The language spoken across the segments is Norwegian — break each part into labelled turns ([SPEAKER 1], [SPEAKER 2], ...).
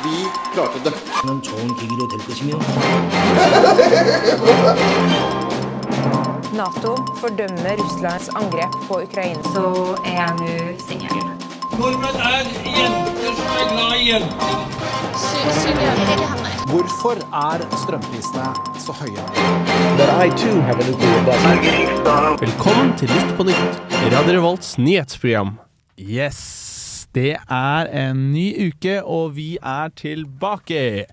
[SPEAKER 1] 필요 없던데.
[SPEAKER 2] 는 좋은 계기로 될 것이며
[SPEAKER 3] Nato fordømmer Russlands angrep på Ukraina.
[SPEAKER 4] så er jeg nå singel.
[SPEAKER 5] Nordmenn er jenter som er glad i jenter.
[SPEAKER 6] Hvorfor er strømprisene så høye?
[SPEAKER 7] Velkommen til Lytt på nytt, Radio Revolts nyhetsprogram.
[SPEAKER 8] Yes, det er en ny uke, og vi er tilbake.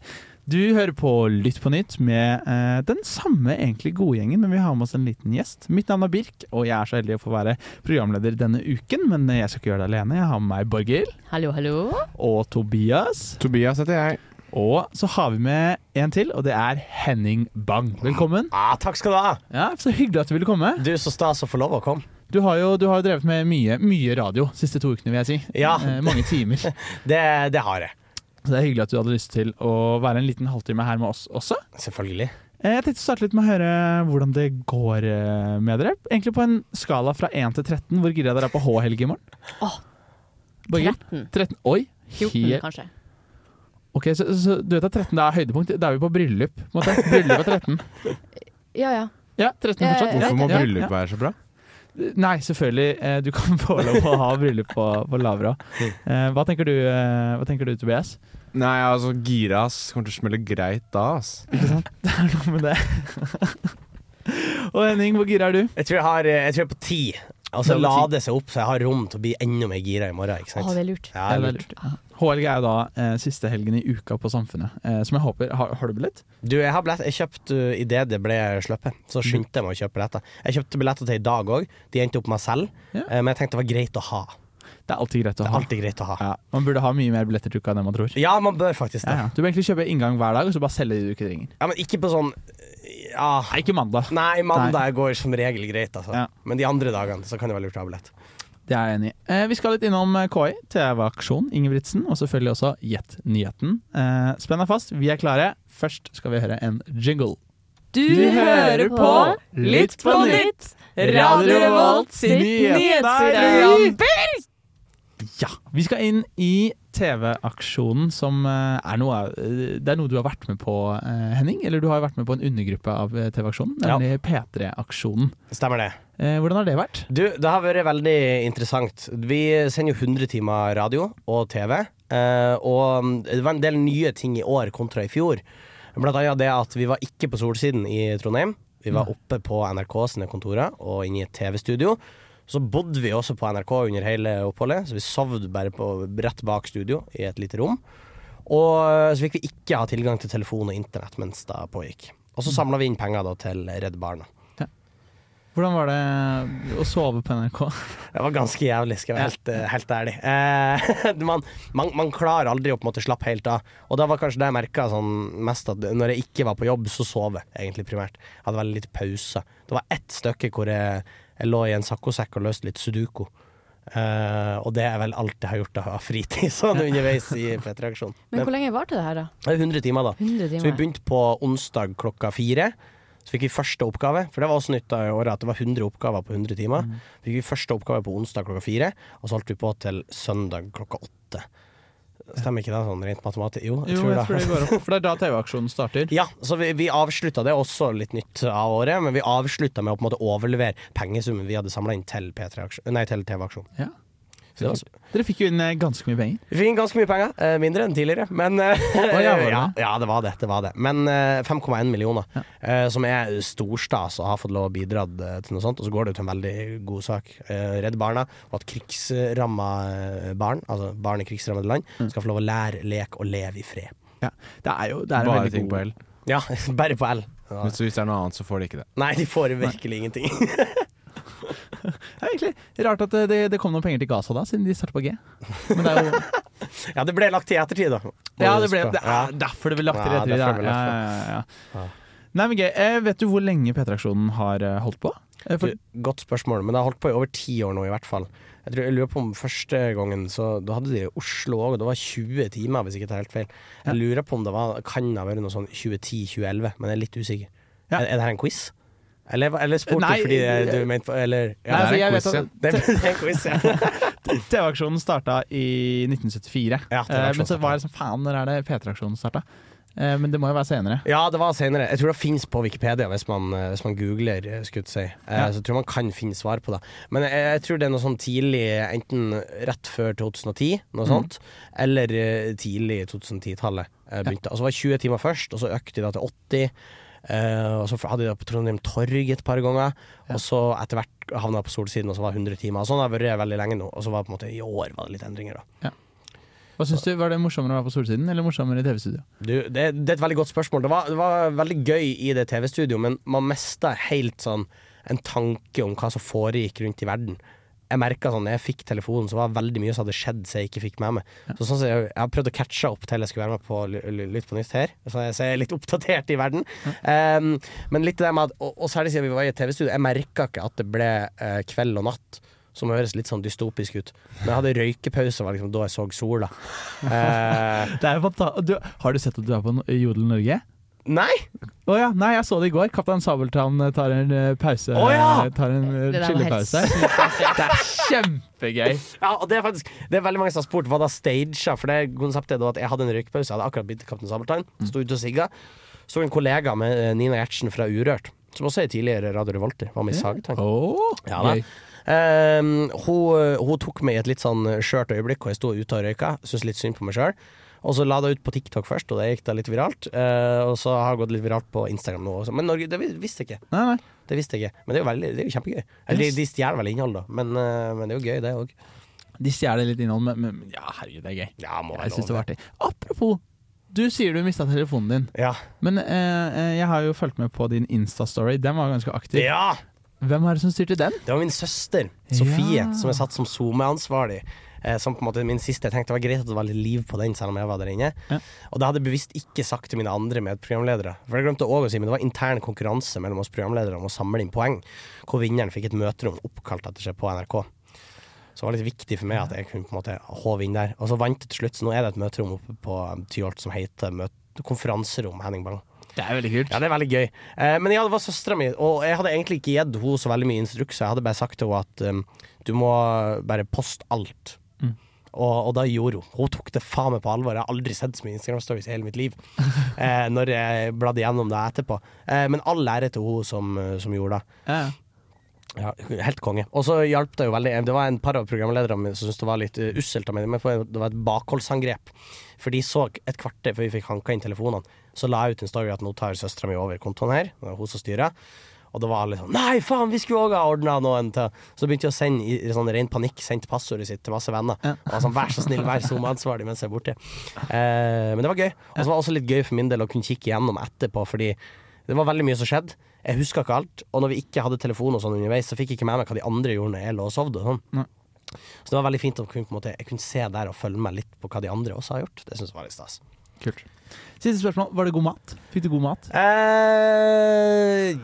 [SPEAKER 8] Du hører på Lytt på nytt med eh, den samme egentlig gode gjengen, men vi har med oss en liten gjest. Mitt navn er Birk, og jeg er så heldig å få være programleder denne uken. Men jeg skal ikke gjøre det alene. Jeg har med meg Borghild
[SPEAKER 9] Hallo, hallo.
[SPEAKER 8] og Tobias.
[SPEAKER 10] Tobias heter jeg.
[SPEAKER 8] Og så har vi med en til, og det er Henning Bang. Velkommen.
[SPEAKER 11] Ah, takk skal du ha.
[SPEAKER 8] Ja, Så hyggelig at du ville komme.
[SPEAKER 11] Du, så stas å få lov å komme.
[SPEAKER 8] Du har jo, du har jo drevet med mye, mye radio siste to ukene, vil jeg si.
[SPEAKER 11] Ja.
[SPEAKER 8] Eh, mange timer.
[SPEAKER 11] Det, det har jeg.
[SPEAKER 8] Så det er hyggelig at du hadde lyst til å være en liten halvtime her med oss også.
[SPEAKER 11] Selvfølgelig.
[SPEAKER 8] Eh, Jeg tenkte å starte litt med å høre hvordan det går eh, med dere. Egentlig på en skala fra 1 til 13, hvor gira dere er på H-helg i morgen?
[SPEAKER 9] Åh,
[SPEAKER 8] Borghild?
[SPEAKER 9] 13.
[SPEAKER 8] 13. Oi!
[SPEAKER 9] 14,
[SPEAKER 8] helt-
[SPEAKER 9] kanskje.
[SPEAKER 8] Ok, så, så du vet at 13 det er høydepunkt? Da er vi på bryllup. på en Måte. Bryllup er 13.
[SPEAKER 9] Ja, ja.
[SPEAKER 8] Ja, 13
[SPEAKER 9] Ja,
[SPEAKER 8] fortsatt.
[SPEAKER 9] ja,
[SPEAKER 10] Hvorfor må
[SPEAKER 8] Ja,
[SPEAKER 10] bryllup
[SPEAKER 8] ja.
[SPEAKER 10] være så bra?
[SPEAKER 8] Nei, selvfølgelig. eh, Du kan få lov å ha bryllup på, på Lavra. Eh, Hva tenker du, eh, hva tenker du Tobias?
[SPEAKER 10] Nei, altså, gira ass. Kommer til å smelle greit da, ass.
[SPEAKER 8] Noe med det. Og Henning, hvor gira er du?
[SPEAKER 11] Jeg tror jeg, har, eh, jeg tror jeg er på ti. Og så
[SPEAKER 8] Du er på
[SPEAKER 11] lade seg opp, så jeg har rom til å bli enda mer gira i morgen. ikke
[SPEAKER 9] Å,
[SPEAKER 11] sant?
[SPEAKER 9] det er lurt.
[SPEAKER 11] Ja,
[SPEAKER 8] Ja, det
[SPEAKER 11] eller-
[SPEAKER 8] er lurt. HLG er jo da eh, siste helgen i uka på Samfunnet, eh, som jeg håper Har, har du billett?
[SPEAKER 11] Du, jeg har billett. Jeg kjøpte uh, idet det ble sluppet.
[SPEAKER 8] Mhm.
[SPEAKER 11] Så skyndte jeg meg å kjøpe billetter. Jeg kjøpte billetter til i dag òg. De endte opp med meg selv.
[SPEAKER 8] Ja.
[SPEAKER 11] Eh, Men jeg tenkte det var greit å ha.
[SPEAKER 8] Det er alltid greit å
[SPEAKER 11] Det er
[SPEAKER 8] ha.
[SPEAKER 11] alltid greit å ha.
[SPEAKER 8] Ja, man burde ha mye mer billetter til uka enn det man tror.
[SPEAKER 11] Ja, man bør faktisk
[SPEAKER 8] Ja,
[SPEAKER 11] det.
[SPEAKER 8] ja. Du bør egentlig kjøpe inngang hver dag, og så bare selge de du ikke trenger.
[SPEAKER 11] Ja, Men ikke på sånn Ja.
[SPEAKER 8] Nei, ikke mandag.
[SPEAKER 11] Nei, mandag går som regel greit, altså.
[SPEAKER 8] Ja.
[SPEAKER 11] Men de andre dagene så kan det være lurt å ha billett.
[SPEAKER 8] Det er jeg enig i. Eh, vi skal litt innom eh, KI, TV-aksjon, Ingebrigtsen, og selvfølgelig også Gjett nyheten. Eh, Spenn deg fast, vi er klare. Først skal vi høre en jingle.
[SPEAKER 9] Du
[SPEAKER 8] hører på Litt på nytt, Radio Revolt sitt nyhetsprogram. Ja, vi skal inn i TV-aksjonen som eh, er noe, av- det er noe du har vært med på, eh, Henning. Eller du har jo vært med på en undergruppe av eh, TV-aksjonen,
[SPEAKER 11] Ja.
[SPEAKER 8] nemlig P3-aksjonen.
[SPEAKER 11] Stemmer det.
[SPEAKER 8] Eh, Hvordan har det vært?
[SPEAKER 11] Du, det har vært veldig interessant. Vi sender jo 100 timer radio og TV. eh, og det var en del nye ting i år kontra i fjor. Blant annet det at vi var ikke på Solsiden i Trondheim. Vi var oppe på NRK sine kontorer og inne i et TV-studio. Så bodde vi også på NRK under hele oppholdet, så vi sovde bare på, rett bak studio i et lite rom. Og eh, så fikk vi ikke ha tilgang til telefon og internett mens det pågikk. Og så samla vi inn penger da til Redd Barna.
[SPEAKER 8] Hvordan var det å sove på NRK?
[SPEAKER 11] Det var ganske jævlig, skal jeg være helt, eh, helt ærlig. Eh, man, man, man klarer aldri å på en måte slappe helt av. Og da var kanskje det jeg merka sånn, mest, at når jeg ikke var på jobb, så sov jeg egentlig primært. Jeg hadde veldig lite pauser. Det var ett stykke hvor jeg, jeg lå i en saccosekk og løste litt sudoku. Eh, og det er vel alt jeg har gjort av fritid sånn underveis i P3-aksjonen.
[SPEAKER 9] Men hvor lenge varte det her, da?
[SPEAKER 11] Det er 100 timer, da.
[SPEAKER 9] 100
[SPEAKER 11] Så vi
[SPEAKER 9] timer?
[SPEAKER 11] begynte på onsdag klokka fire. Så fikk vi første oppgave, for det var også nytt av året at det var 100 oppgaver på 100 timer. Fikk vi første oppgave på onsdag klokka fire, og så holdt vi på til søndag klokka åtte. Stemmer ikke det sånn rent matematisk? Jo, jeg tror det.
[SPEAKER 8] går opp. For det er da TV-aksjonen starter.
[SPEAKER 11] Ja, så vi, vi avslutta det, også litt nytt av året, men vi avslutta med å på en måte overlevere pengesummen vi hadde samla inn til, P3-aksjon- nei, til TV-aksjon.
[SPEAKER 8] Ja. Det var- Dere fikk jo inn eh, ganske mye penger.
[SPEAKER 11] Vi fikk inn ganske mye penger, eh, mindre enn tidligere, men eh,
[SPEAKER 8] ja, var det
[SPEAKER 11] ja, ja, det var det. det, var det. Men eh, 5,1 millioner, eh, som er storstas og har fått lov å bidra eh, til noe sånt. Og så går det jo til en veldig god sak. Eh, Redd Barna, og at krigsramma eh, barn, altså barn i krigsrammede land,
[SPEAKER 8] Mm.
[SPEAKER 11] skal få lov å lære, leke og leve i fred.
[SPEAKER 8] Ja. Det er jo det er en
[SPEAKER 10] Bare
[SPEAKER 8] veldig
[SPEAKER 10] ting
[SPEAKER 8] god-
[SPEAKER 10] på L.
[SPEAKER 11] Ja, bare på L. Ja.
[SPEAKER 10] Men så hvis det er noe annet, så får de ikke det.
[SPEAKER 11] Nei, de får virkelig ingenting.
[SPEAKER 8] Det er egentlig rart at eh, det, det kom noen penger til Gaza da, siden de starter på G. Men det er jo
[SPEAKER 11] ja, det ble lagt til i ettertid, da.
[SPEAKER 8] Ja, det, ble, det
[SPEAKER 11] Ja.
[SPEAKER 8] er derfor det ble lagt til
[SPEAKER 11] Ja,
[SPEAKER 8] rett i det.
[SPEAKER 11] derfor det ble
[SPEAKER 8] Ja,
[SPEAKER 11] lagt
[SPEAKER 8] ja, ja, ja. Nei, men gøy. Eh, Vet du hvor lenge P3-aksjonen har eh, holdt på? Eh, For,
[SPEAKER 11] Du, Godt spørsmål, men det har holdt på i over ti år nå, i hvert fall. Jeg, tror, jeg lurer på om første gangen så, Da hadde de i Oslo òg, og det var 20 timer, hvis jeg ikke tar helt feil. Jeg lurer på om det var, kan ha vært noe sånn 2010-2011, men jeg er litt usikker.
[SPEAKER 8] Ja.
[SPEAKER 11] Er, er det her en quiz? Eller, eller spurte
[SPEAKER 8] Nei,
[SPEAKER 11] du fordi
[SPEAKER 8] eh,
[SPEAKER 11] du mente på Eller
[SPEAKER 8] Nei,
[SPEAKER 11] ja,
[SPEAKER 8] altså,
[SPEAKER 11] det,
[SPEAKER 8] jeg
[SPEAKER 11] er en
[SPEAKER 8] vet
[SPEAKER 11] quiz,
[SPEAKER 8] at-
[SPEAKER 11] ja. det, er- det er en quiz, ja.
[SPEAKER 8] TV-aksjonen starta i 1974.
[SPEAKER 11] Ja,
[SPEAKER 8] Eh, men så
[SPEAKER 11] TV-aksjonen
[SPEAKER 8] var jeg sånn faen, når er det P3-aksjonen starta? Eh, men det må jo være senere.
[SPEAKER 11] Ja, det var senere. Jeg tror det fins på Wikipedia hvis man, eh, hvis man googler, eh, skulle jeg si. Eh,
[SPEAKER 8] Ja.
[SPEAKER 11] Så jeg tror man kan finne svar på det. Men jeg, jeg tror det er noe sånn tidlig, enten rett før 2010, noe
[SPEAKER 8] Mhm.
[SPEAKER 11] sånt, eller eh, tidlig 2010-tallet eh, begynte. Og så var det 20 timer først, og så økte de da til 80. eh, og så hadde de det på Trondheim Torg et par ganger, og så etter hvert havna jeg på Solsiden, og så var det 100 timer. Og Sånn har det vært veldig lenge nå, og så var det på en måte i år var det litt endringer, da.
[SPEAKER 8] Hva synes du, Var det morsommere å være på Solsiden eller morsommere i TV-studio?
[SPEAKER 11] Du, det, det er et veldig godt spørsmål. Det var, det var veldig gøy i det TV-studioet, men man mista helt sånn en tanke om hva som foregikk rundt i verden. Jeg merka sånn, når jeg fikk telefonen, så var det veldig mye som hadde skjedd som jeg ikke fikk med meg. Så sånn som jeg, jeg har prøvd å catche opp til jeg skulle være med på Ly- Ly- Lytt på nytt her, så jeg, så jeg er litt oppdatert i verden. Ehm, men litt det der med at, og, og særlig siden vi var i et TV-studio, jeg merka ikke at det ble eh, kveld og natt. Som høres litt sånn dystopisk ut. Men jeg hadde røykepause var liksom, da jeg så sola. Eh,
[SPEAKER 8] Det er jo fanta- du, har du sett at du er på no- Jodel Norge?
[SPEAKER 11] nei!
[SPEAKER 8] Å ja, nei, jeg så det i går. Kaptein Sabeltann eh, tar en eh, pause.
[SPEAKER 11] Å ja!
[SPEAKER 8] eh, Tar en eh,
[SPEAKER 9] Det der var helt
[SPEAKER 8] chillepause. Det er kjempegøy.
[SPEAKER 11] Ja, og det er faktisk Det er veldig mange som har spurt hva da stagea, for det konseptet er da at jeg hadde en røykpause. Jeg hadde akkurat blitt Kaptein Sabeltann. Sto ute og sigga. Så en kollega med eh, Nina Gjertsen fra Urørt, som også er tidligere Radio Revolter, var med i Sagtank.
[SPEAKER 8] Oh,
[SPEAKER 11] Ja, da.
[SPEAKER 8] gøy.
[SPEAKER 11] Ehm, hun, hun tok meg i et litt sånn skjørt øyeblikk, og jeg sto ute og røyka. Syntes litt synd på meg sjøl. Og så la det ut på TikTok først, og det gikk da litt viralt. Eh, og så har det gått litt viralt på Instagram nå også. Men Norge, det visste jeg ikke.
[SPEAKER 8] Nei, nei.
[SPEAKER 11] Det visste jeg ikke. Men det er jo, veldig, det er jo kjempegøy. Eller de, de stjeler vel innhold, da. Men, eh, men det er jo gøy, det òg.
[SPEAKER 8] De stjeler litt innhold, men, men ja, herregud, det er gøy.
[SPEAKER 11] Ja, må være
[SPEAKER 8] Jeg synes det
[SPEAKER 11] lov.
[SPEAKER 8] var artig. Apropos, du sier du mista telefonen din.
[SPEAKER 11] Ja.
[SPEAKER 8] Men eh, eh, jeg har jo fulgt med på din Insta-story. Den var ganske aktiv.
[SPEAKER 11] ja!
[SPEAKER 8] Hvem er det som styrte den?
[SPEAKER 11] Det var min søster, Sofie,
[SPEAKER 8] Ja.
[SPEAKER 11] som jeg satt som SoMe-ansvarlig. Eh, som på en måte min siste Jeg tenkte det var greit at det var litt liv på den, selv om jeg var der inne.
[SPEAKER 8] Ja.
[SPEAKER 11] Og det hadde jeg bevisst ikke sagt til mine andre medprogramledere. For jeg glemte også å si, men det var intern konkurranse mellom oss programledere om å samle inn poeng, hvor vinneren fikk et møterom oppkalt etter seg på NRK. Så det var litt viktig for meg at jeg kunne på en måte håve inn der. Og så vant jeg til slutt, så nå er det et møterom oppe på um, Tyholt som heter møt konferanserom Henning Bang.
[SPEAKER 8] Det er veldig kult.
[SPEAKER 11] Ja, det er veldig gøy. Eh, men ja, det var søstera mi, og jeg hadde egentlig ikke gitt henne så veldig mye instrukser. Jeg hadde bare sagt til henne at um, du må bare poste alt. Og, og da gjorde hun. Hun tok det faen meg på alvor. Jeg har aldri sett så mye Instagram-stories i hele mitt liv. Eh, når jeg bladde gjennom det etterpå. Eh, men all ære til hun som, eh, som gjorde det.
[SPEAKER 8] Ja.
[SPEAKER 11] Ja, helt konge. Og så hjalp det jo veldig. Det var en par av programlederne mine som syntes det var litt eh, usselt av meg, men det var et bakholdsangrep. For de så et kvarter før vi fikk hanka inn telefonene, så la jeg ut en story at nå tar søstera mi over kontoen her, det er hun som styrer. Og da var alle sånn Nei, faen, vi skulle òg ha ordna noen til Så begynte jeg å sende i i sånn ren panikk, sendte passordet sitt til masse venner. Og var sånn, Vær så snill, vær SoMe-ansvarlig mens jeg er borte. Eh, men det var gøy. Og så var det også litt gøy for min del å kunne kikke igjennom etterpå, fordi det var veldig mye som skjedde. Jeg huska ikke alt. Og når vi ikke hadde telefon og sånn underveis, så fikk jeg ikke med meg hva de andre gjorde når jeg lå og sovde. og
[SPEAKER 8] Nei.
[SPEAKER 11] Sånn. Så det var veldig fint å kunne, på en måte, jeg kunne se der og følge med litt på hva de andre også har gjort. Det synes jeg var litt stas.
[SPEAKER 8] Kult. Siste spørsmål. Var det god mat? Fikk du god mat?
[SPEAKER 11] eh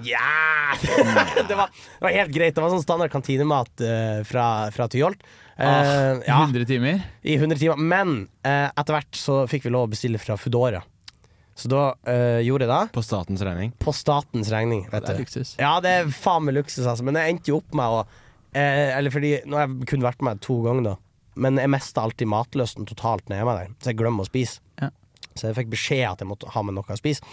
[SPEAKER 11] ja det, var, det var helt greit. Det var sånn standard kantinemat eh, fra, fra Tyholt. Eh,
[SPEAKER 8] Ah.
[SPEAKER 11] ja,
[SPEAKER 8] 100 timer?
[SPEAKER 11] I 100 timer. Men eh, etter hvert så fikk vi lov å bestille fra Foodora. Så da eh, gjorde jeg det
[SPEAKER 10] På statens regning.
[SPEAKER 11] på statens regning. Vet
[SPEAKER 8] Det er
[SPEAKER 11] du.
[SPEAKER 8] luksus.
[SPEAKER 11] Ja, det er faen meg luksus, altså. Men jeg endte jo opp med å eh, Eller fordi Nå har jeg kun vært med to ganger, da. Men jeg mista alltid matløsten totalt når jeg er med der, så jeg glemmer å spise.
[SPEAKER 8] Ja.
[SPEAKER 11] Så jeg fikk beskjed at jeg måtte ha med noe å spise.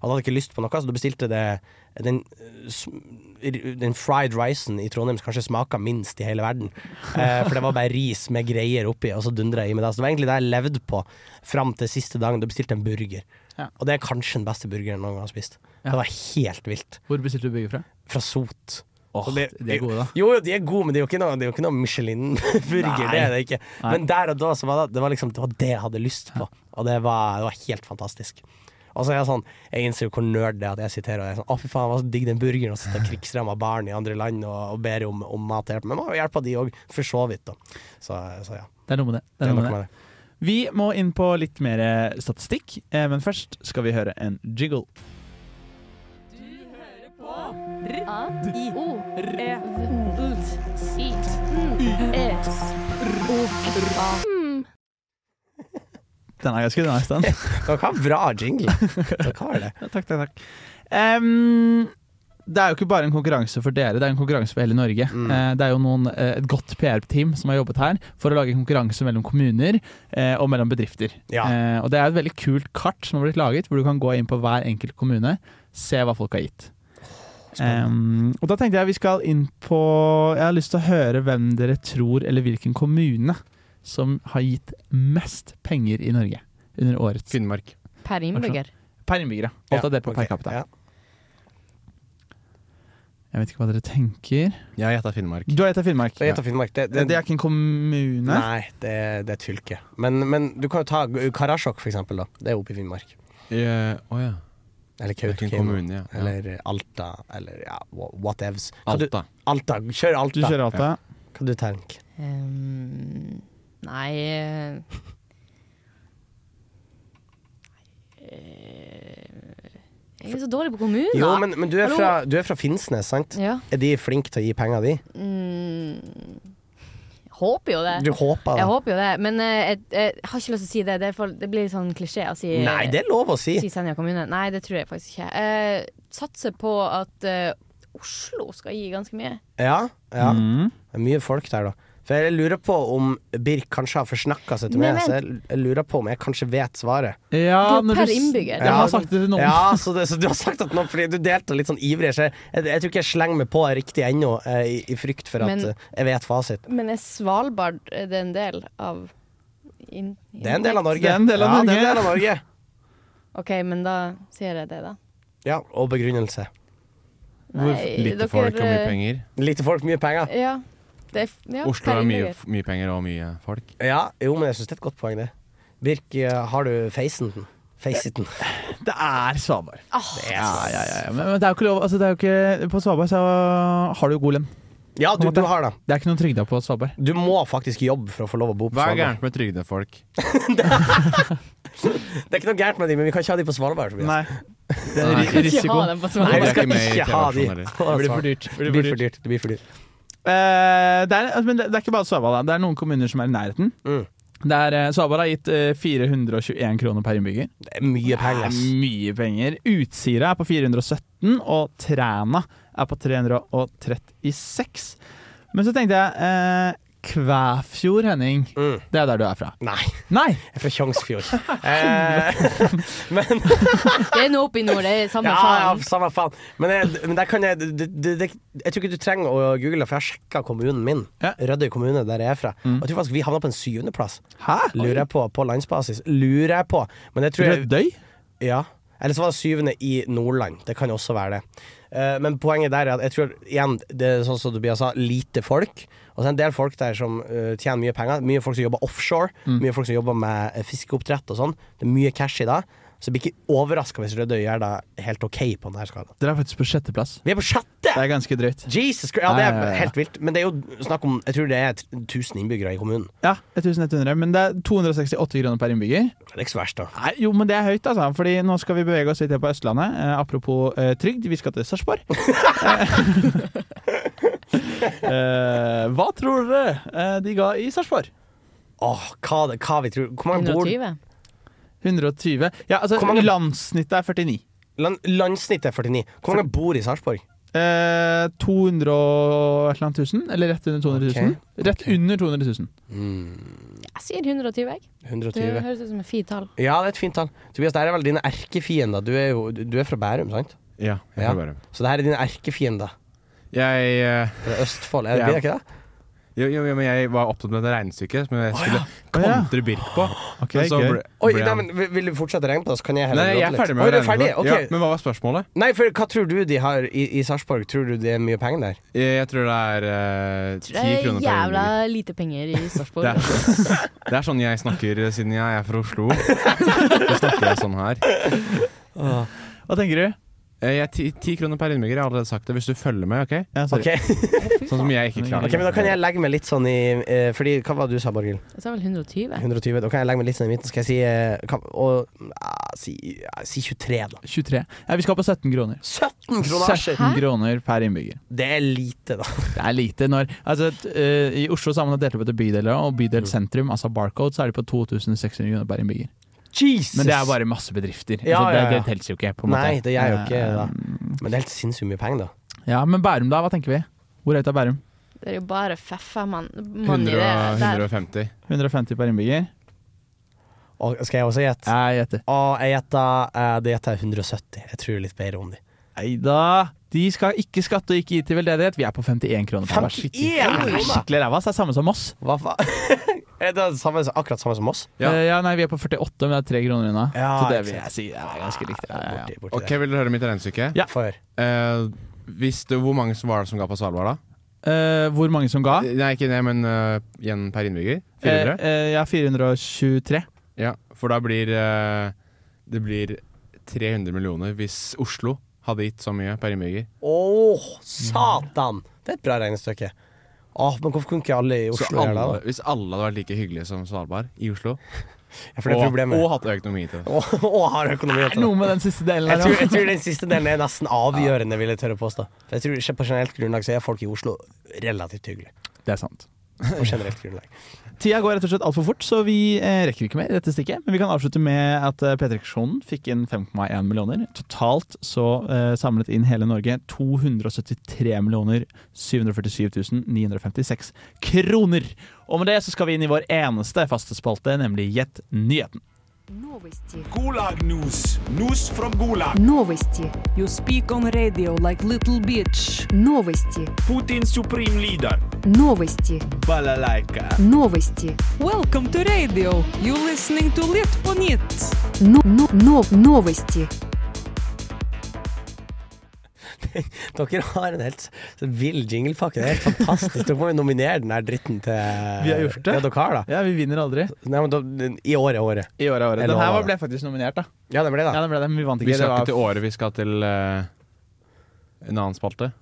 [SPEAKER 11] Og da hadde jeg ikke lyst på noe, så da bestilte jeg det den, eh, sm- den fried ricen i Trondheim som kanskje smaka minst i hele verden. Eh, for det var bare ris med greier oppi, og så dundra jeg i meg det. Så det var egentlig det jeg levde på fram til siste dagen. Da bestilte jeg en burger.
[SPEAKER 8] Ja.
[SPEAKER 11] Og det er kanskje den beste burgeren jeg noen gang har spist.
[SPEAKER 8] Ja.
[SPEAKER 11] Det var helt vilt
[SPEAKER 8] Hvor bestilte du bygget fra?
[SPEAKER 11] fra Sot.
[SPEAKER 8] Åh,
[SPEAKER 11] Og
[SPEAKER 8] de er gode, da.
[SPEAKER 11] Jo, jo, de er gode, men det er jo ikke noe, det er jo ikke noe Michelin-burger. Det er det ikke. Men der og da så var det, det var liksom det, var det jeg hadde lyst på, og det var, det var helt fantastisk. Og så er jeg sånn, jeg innser jo hvor nerd det er at jeg siterer. Og jeg er sånn, Å, fy faen, hva så digg den burgeren, og sitter krigsramma barn i andre land og, og ber om, om mat og hjelp. Men man må jo hjelpe de òg, for så vidt, da. Så, så ja.
[SPEAKER 8] Det er noe med det.
[SPEAKER 11] Det
[SPEAKER 8] det,
[SPEAKER 11] er
[SPEAKER 8] er noe
[SPEAKER 11] noe
[SPEAKER 8] med det.
[SPEAKER 11] med det.
[SPEAKER 8] Vi må inn på litt mer eh, statistikk, eh, men først skal vi høre en jiggle. Den er ganske nice, den.
[SPEAKER 11] Dere har bra jingle. Dere har det.
[SPEAKER 8] Takk, takk, takk. Em, det er jo ikke bare en konkurranse for dere, det er en konkurranse for hele Norge.
[SPEAKER 11] Mm.
[SPEAKER 8] Eh, Det er jo noen, eh, et godt PR-team som har jobbet her for å lage konkurranse mellom kommuner eh, og mellom bedrifter.
[SPEAKER 11] Ja.
[SPEAKER 8] Eh, Og det er et veldig kult kart som har blitt laget, hvor du kan gå inn på hver enkelt kommune, se hva folk har gitt. Em, og da tenkte jeg vi skal inn på Jeg har lyst til å høre hvem dere tror, eller hvilken kommune, som har gitt mest penger i Norge under årets
[SPEAKER 10] Finnmark.
[SPEAKER 9] Per innbygger.
[SPEAKER 8] Per innbyggere. Alt av det på
[SPEAKER 11] ok,
[SPEAKER 8] per capita.
[SPEAKER 11] ja.
[SPEAKER 8] Jeg vet ikke hva dere tenker.
[SPEAKER 10] Jeg gjetta Finnmark.
[SPEAKER 8] Du har gjetta Finnmark.
[SPEAKER 11] Jeg gjetter Finnmark. Det,
[SPEAKER 8] Det er ikke en kommune.
[SPEAKER 11] Nei, det, det er et fylke. Men, men du kan jo ta Karasjok, for eksempel. Da. Det er oppe i Finnmark.
[SPEAKER 10] Eh, Å ja.
[SPEAKER 11] Eller
[SPEAKER 10] Det er ikke en
[SPEAKER 11] Kautokeino.
[SPEAKER 10] kommune, ja. ja.
[SPEAKER 11] Eller Alta, eller ja, wha- whatevs. Kan du-
[SPEAKER 10] Alta.
[SPEAKER 11] Alta. Kjør
[SPEAKER 8] Du
[SPEAKER 11] Alta.
[SPEAKER 8] kjører Alta.
[SPEAKER 11] Kan du tenke?
[SPEAKER 9] Ehm, nei eh, eh, Jeg er så dårlig på kommuner.
[SPEAKER 11] Jo, men, men du, er
[SPEAKER 9] Hallo?
[SPEAKER 11] fra, du er fra Finnsnes, sant?
[SPEAKER 9] ja.
[SPEAKER 11] Er de flinke til å gi penger, de?
[SPEAKER 9] mm, jeg Håper jo det.
[SPEAKER 11] Du håper
[SPEAKER 9] Jeg
[SPEAKER 11] det?
[SPEAKER 9] håper jo det, men eh, jeg, jeg har ikke lyst til å si det. Det, er for, det blir litt sånn klisjé å si
[SPEAKER 11] Nei, det er lov å si.
[SPEAKER 9] Si Senja kommune. Nei, det tror jeg faktisk ikke. Eh, satser på at eh, Oslo skal gi ganske mye.
[SPEAKER 11] Ja, ja.
[SPEAKER 8] Mm.
[SPEAKER 11] Det er mye folk der, da. For jeg lurer på om Birk kanskje har forsnakka seg til
[SPEAKER 9] Men
[SPEAKER 11] meg, så jeg, jeg lurer på om jeg kanskje vet svaret.
[SPEAKER 8] Ja,
[SPEAKER 9] Du,
[SPEAKER 8] når
[SPEAKER 9] per
[SPEAKER 8] s-
[SPEAKER 9] innbygger.
[SPEAKER 8] Jeg
[SPEAKER 11] Ja.
[SPEAKER 8] har sagt det til noen.
[SPEAKER 11] Ja, så, det, så du har sagt at nå, fordi du delte litt sånn ivrig, så jeg, jeg, jeg tror ikke jeg slenger meg på riktig ennå, eh, i, i frykt for at
[SPEAKER 9] Men-
[SPEAKER 11] eh, jeg vet fasit.
[SPEAKER 9] Men er Svalbard er det en del av inn-
[SPEAKER 11] Det er en del av Norge.
[SPEAKER 8] Det er en del av
[SPEAKER 11] ja, Det er
[SPEAKER 8] Norge.
[SPEAKER 11] en del av Norge.
[SPEAKER 9] OK, men da sier jeg det, da.
[SPEAKER 11] Ja, og begrunnelse.
[SPEAKER 9] Nei,
[SPEAKER 10] Lite folk og mye
[SPEAKER 9] eh,
[SPEAKER 10] penger.
[SPEAKER 11] Lite folk, mye penger.
[SPEAKER 9] Ja. Det er, f- ja
[SPEAKER 10] Oslo
[SPEAKER 9] per
[SPEAKER 10] har mye,
[SPEAKER 9] innbygger.
[SPEAKER 10] mye penger og mye folk.
[SPEAKER 11] Ja, jo, men jeg syns det er et godt poeng, det. Birk, eh, har du facen? Faciten.
[SPEAKER 8] Det er Svalbard.
[SPEAKER 9] Ah.
[SPEAKER 11] Det er
[SPEAKER 8] Ja, ja, ja. Men, men det er jo ikke lov altså, det er jo ikke, På Svalbard så har du jo god lønn.
[SPEAKER 11] Ja, du, du har det.
[SPEAKER 8] Det er ikke noen trygder på Svalbard.
[SPEAKER 11] Du må faktisk jobbe for å få lov å bo på
[SPEAKER 10] Hva er
[SPEAKER 11] Svalbard.
[SPEAKER 10] gærent med trygdefolk?
[SPEAKER 11] Det er ikke noe gærent med de, men vi kan ikke ha de på Svalbard. Tobias.
[SPEAKER 8] Det er ri- risiko.
[SPEAKER 9] Ha den på
[SPEAKER 11] Nei,
[SPEAKER 9] Svalbard.
[SPEAKER 10] Det
[SPEAKER 11] vi
[SPEAKER 10] er
[SPEAKER 11] skal
[SPEAKER 10] ikke med i
[SPEAKER 11] ikke ha de. på
[SPEAKER 10] TV-versjonen heller.
[SPEAKER 8] Det blir for
[SPEAKER 11] Svalbard.
[SPEAKER 8] dyrt.
[SPEAKER 11] Det blir for dyrt. Det blir for dyrt.
[SPEAKER 8] Eh, det, er, men det, det er ikke bare Svalbard. da. Det er noen kommuner som er i nærheten.
[SPEAKER 11] Mm.
[SPEAKER 8] Det er, eh, Svalbard har gitt eh, 421 kroner per innbygger.
[SPEAKER 11] Det er mye penger, ass.
[SPEAKER 8] Det er mye penger. Utsira er på 417, og Træna er på 336. Men så tenkte jeg eh, Kvæfjord, Henning.
[SPEAKER 11] Mm.
[SPEAKER 8] Det er der du er fra.
[SPEAKER 11] Nei,
[SPEAKER 8] Nei!
[SPEAKER 11] jeg er fra Tjongsfjord. eh, men
[SPEAKER 9] Det er nå oppe i nord, det er samme
[SPEAKER 11] ja, ja,
[SPEAKER 9] faen.
[SPEAKER 11] samme faen. Men, jeg, men der kan jeg det, det, det, Jeg tror ikke du trenger å google, for jeg har sjekka kommunen min.
[SPEAKER 8] Ja.
[SPEAKER 11] Rødøy kommune, der jeg er fra.
[SPEAKER 9] Mm.
[SPEAKER 11] Og jeg tror faktisk vi havna på en syvendeplass,
[SPEAKER 8] Hæ?
[SPEAKER 11] lurer jeg på, på landsbasis. Lurer jeg på. Men jeg tror jeg,
[SPEAKER 8] Rødøy?
[SPEAKER 11] Ja. Eller så var det syvende i Nordland. Det kan jo også være det. Eh, Men poenget der er at jeg tror igjen, det er sånn som Tobias sa, lite folk. Og så er det en del folk der som eh, tjener mye penger. Mye folk som jobber offshore.
[SPEAKER 8] Mm.
[SPEAKER 11] Mye folk som jobber med eh, fiskeoppdrett og sånn. Det er mye cash i det. Så jeg blir ikke overraska hvis Rødøy gjør det helt OK på denne skalaen.
[SPEAKER 8] Dere er faktisk på sjetteplass.
[SPEAKER 11] Vi er på sjette!
[SPEAKER 8] Det er ganske drøyt.
[SPEAKER 11] Jesus Christ! Ja, det
[SPEAKER 8] Ja, ja,
[SPEAKER 11] er
[SPEAKER 8] ja.
[SPEAKER 11] helt vilt. Men det er jo snakk om Jeg tror det er 1000 innbyggere i kommunen.
[SPEAKER 8] Ja, 1100, men det er 268 kroner per innbygger.
[SPEAKER 11] Det er ikke så verst, da.
[SPEAKER 8] Nei, jo, men det er høyt, altså. Fordi nå skal vi bevege oss litt på Østlandet. Eh, apropos eh, trygd, vi skal til Sarpsborg. eh, hva tror dere eh, de ga i Sarpsborg?
[SPEAKER 11] Åh, hva, det- hva vi tror Hvor mange bor
[SPEAKER 9] 120.
[SPEAKER 8] 120 Ja, altså
[SPEAKER 11] Hvor mange-
[SPEAKER 8] landssnittet er 49.
[SPEAKER 11] land, Landssnittet er 49. Hvor mange bor i Sarpsborg?
[SPEAKER 8] Eh, 200 og et eller annet tusen? Eller rett under 200 000? Rett under 200 000. Mm.
[SPEAKER 9] Jeg sier 120, jeg. Det
[SPEAKER 11] 120.
[SPEAKER 9] høres ut som et fint tall.
[SPEAKER 11] Ja, det er et fint tall. Tobias, det her er vel dine erkefiender. Du er jo du er fra Bærum, sant?
[SPEAKER 10] Ja, jeg
[SPEAKER 11] Ja.
[SPEAKER 10] får bare
[SPEAKER 11] Så det her er dine erkefiender
[SPEAKER 10] Jeg eh,
[SPEAKER 11] fra Østfold. Er det,
[SPEAKER 10] Ja.
[SPEAKER 11] blir det ikke det?
[SPEAKER 10] Jo, jo, jo, men jeg var opptatt med det regnestykket som jeg skulle
[SPEAKER 8] Å, ja.
[SPEAKER 10] kontre Birk på.
[SPEAKER 8] Ok,
[SPEAKER 10] Men så
[SPEAKER 8] gøy.
[SPEAKER 10] ble,
[SPEAKER 11] Oi,
[SPEAKER 10] ble
[SPEAKER 11] nei,
[SPEAKER 10] han-
[SPEAKER 11] men vil- Vil du fortsette å regne på det, så kan jeg heller
[SPEAKER 10] Nei, jeg er
[SPEAKER 11] gråte litt.
[SPEAKER 10] ferdig med
[SPEAKER 11] Oi,
[SPEAKER 10] å
[SPEAKER 11] du er
[SPEAKER 10] regne.
[SPEAKER 11] ferdig?
[SPEAKER 10] på det.
[SPEAKER 11] Ok.
[SPEAKER 10] Ja, men hva var spørsmålet?
[SPEAKER 11] Nei, for hva tror du de har i, i Sarpsborg? Tror du det er mye penger der?
[SPEAKER 10] Jeg, jeg tror det er eh, 10
[SPEAKER 9] Tror Det er
[SPEAKER 10] kroner per
[SPEAKER 9] jævla
[SPEAKER 10] innbygger.
[SPEAKER 9] lite penger i
[SPEAKER 10] Det
[SPEAKER 9] Sarpsborg.
[SPEAKER 10] er, det er sånn jeg snakker eh, siden jeg er fra Oslo. Så snakker jeg sånn her. Ah,
[SPEAKER 8] Hva tenker du?
[SPEAKER 10] Eh, Jeg, ti, ti kroner per innbygger, jeg har allerede sagt det. Hvis du følger med, OK?
[SPEAKER 8] Ja, sorry.
[SPEAKER 11] Ok,
[SPEAKER 10] Sånn som jeg ikke klarer.
[SPEAKER 11] Ok, men Da kan jeg legge meg litt sånn i eh, Fordi, Hva var det du sa, Borghild?
[SPEAKER 9] Jeg sa vel 120.
[SPEAKER 11] 120? Da kan jeg legge meg litt sånn i midten. Skal jeg si eh, hva, og, ah, si, ja, si 23, da.
[SPEAKER 8] 23. Nei, vi skal på 17 kroner.
[SPEAKER 11] 17 kronasjer!
[SPEAKER 8] 17 kroner per innbygger.
[SPEAKER 11] Det er lite, da.
[SPEAKER 8] Det er lite når altså, t- eh,
[SPEAKER 11] Mm.
[SPEAKER 8] I Oslo så har man delt opp etter bydeler, og bydel sentrum, altså Barcode, så er de på 2600 kroner per innbygger.
[SPEAKER 11] Jesus!
[SPEAKER 8] Men det er bare masse bedrifter.
[SPEAKER 11] Ja,
[SPEAKER 8] altså, det,
[SPEAKER 11] ja, ja.
[SPEAKER 8] det teller jo ikke. på en måte.
[SPEAKER 11] Nei, det gjør jo ikke det.
[SPEAKER 8] Eh,
[SPEAKER 11] Men det er helt sinnssykt mye penger, da.
[SPEAKER 8] Ja, Men Bærum, da? Hva tenker vi? Hvor høyt er Bærum?
[SPEAKER 9] Det er jo bare feffa mann. mann i
[SPEAKER 10] 100,
[SPEAKER 9] det der.
[SPEAKER 10] 150.
[SPEAKER 8] 150 per innbygger?
[SPEAKER 11] Og, skal jeg også gjette?
[SPEAKER 8] Jeg gjetter.
[SPEAKER 11] Og jeg gjetter eh, Det gjetter jeg 170. Jeg tror litt bedre om de.
[SPEAKER 8] Nei da! De skal ikke skatte og ikke gi til veldedighet. Vi er på 51 kroner. per hver.
[SPEAKER 11] 51
[SPEAKER 8] Det er skikkelig ræva. ass. Det er samme som oss.
[SPEAKER 11] Hva faen? er det samme, akkurat samme som oss?
[SPEAKER 10] Ja.
[SPEAKER 8] Eh, ja, nei, Vi er på 48, men det er tre kroner unna.
[SPEAKER 11] Ja,
[SPEAKER 8] så det
[SPEAKER 11] ikke
[SPEAKER 8] vil jeg si ja, det er ganske likt. Ja, ja, ja.
[SPEAKER 11] Borti, borti
[SPEAKER 10] Ok, Vil dere høre mitt regnestykke?
[SPEAKER 8] Ja.
[SPEAKER 11] der. For.
[SPEAKER 10] Eh, hvis det, hvor mange som var det som ga på Svalbard, da?
[SPEAKER 8] Eh, hvor mange som ga?
[SPEAKER 10] Nei, ikke det, men eh, igjen per innbygger? 400?
[SPEAKER 8] Eh, eh, ja, 423.
[SPEAKER 10] Ja, for da blir eh, det blir 300 millioner hvis Oslo hadde gitt så mye per innbygger.
[SPEAKER 11] Åh, satan! Det er et bra regnestykke. Åh, men hvorfor kunne ikke alle i
[SPEAKER 10] Så
[SPEAKER 11] Oslo gjøre
[SPEAKER 10] alle,
[SPEAKER 11] det? da?
[SPEAKER 10] hvis alle hadde vært like hyggelige som Svalbard i Oslo,
[SPEAKER 11] Ja, For det er
[SPEAKER 10] og, og
[SPEAKER 11] problemet.
[SPEAKER 10] hatt økonomi til det
[SPEAKER 11] Og, og har økonomi
[SPEAKER 8] Det er
[SPEAKER 11] til det.
[SPEAKER 8] noe med den siste delen her.
[SPEAKER 11] Jeg
[SPEAKER 8] altså.
[SPEAKER 11] tror,
[SPEAKER 8] også.
[SPEAKER 11] jeg tror den siste delen er nesten avgjørende, vil jeg tørre å påstå. For jeg tror ikke På generelt grunnlag så er folk i Oslo relativt hyggelige.
[SPEAKER 8] Det er sant.
[SPEAKER 11] På generelt grunnlag.
[SPEAKER 8] Tida går rett og slett altfor fort, så vi eh, rekker ikke mer i dette stikket. Men vi kan avslutte med at eh, P3-reksjonen fikk inn 5,1 millioner. Totalt så eh, samlet inn hele Norge 273 millioner 747 956 kroner. Og med det så skal vi inn i vår eneste faste spalte, nemlig Gjett nyheten.
[SPEAKER 3] You speak on radio like little bitch. Новости. Putin supreme leader. Новости. Балалайка. Новости. Welcome to radio. You listening to Litponit. No, no, no, новости.
[SPEAKER 11] Dere har en helt så vill jinglepakke. Det er helt fantastisk. Dere må jo nominere den her dritten til
[SPEAKER 8] Vi har gjort det.
[SPEAKER 11] Ja, dere har det.
[SPEAKER 8] Ja, vi vinner aldri.
[SPEAKER 11] Nei, men da, I året, året.
[SPEAKER 8] I året, året. Den
[SPEAKER 11] Eller
[SPEAKER 8] her
[SPEAKER 11] hva
[SPEAKER 8] var- ble faktisk nominert, da.
[SPEAKER 11] Ja, det ble det.
[SPEAKER 8] Ja, den ble det, men vi vant
[SPEAKER 10] Vi
[SPEAKER 8] ikke. Det
[SPEAKER 10] skal
[SPEAKER 8] var
[SPEAKER 10] ikke til året, vi skal til eh, en annen spalte.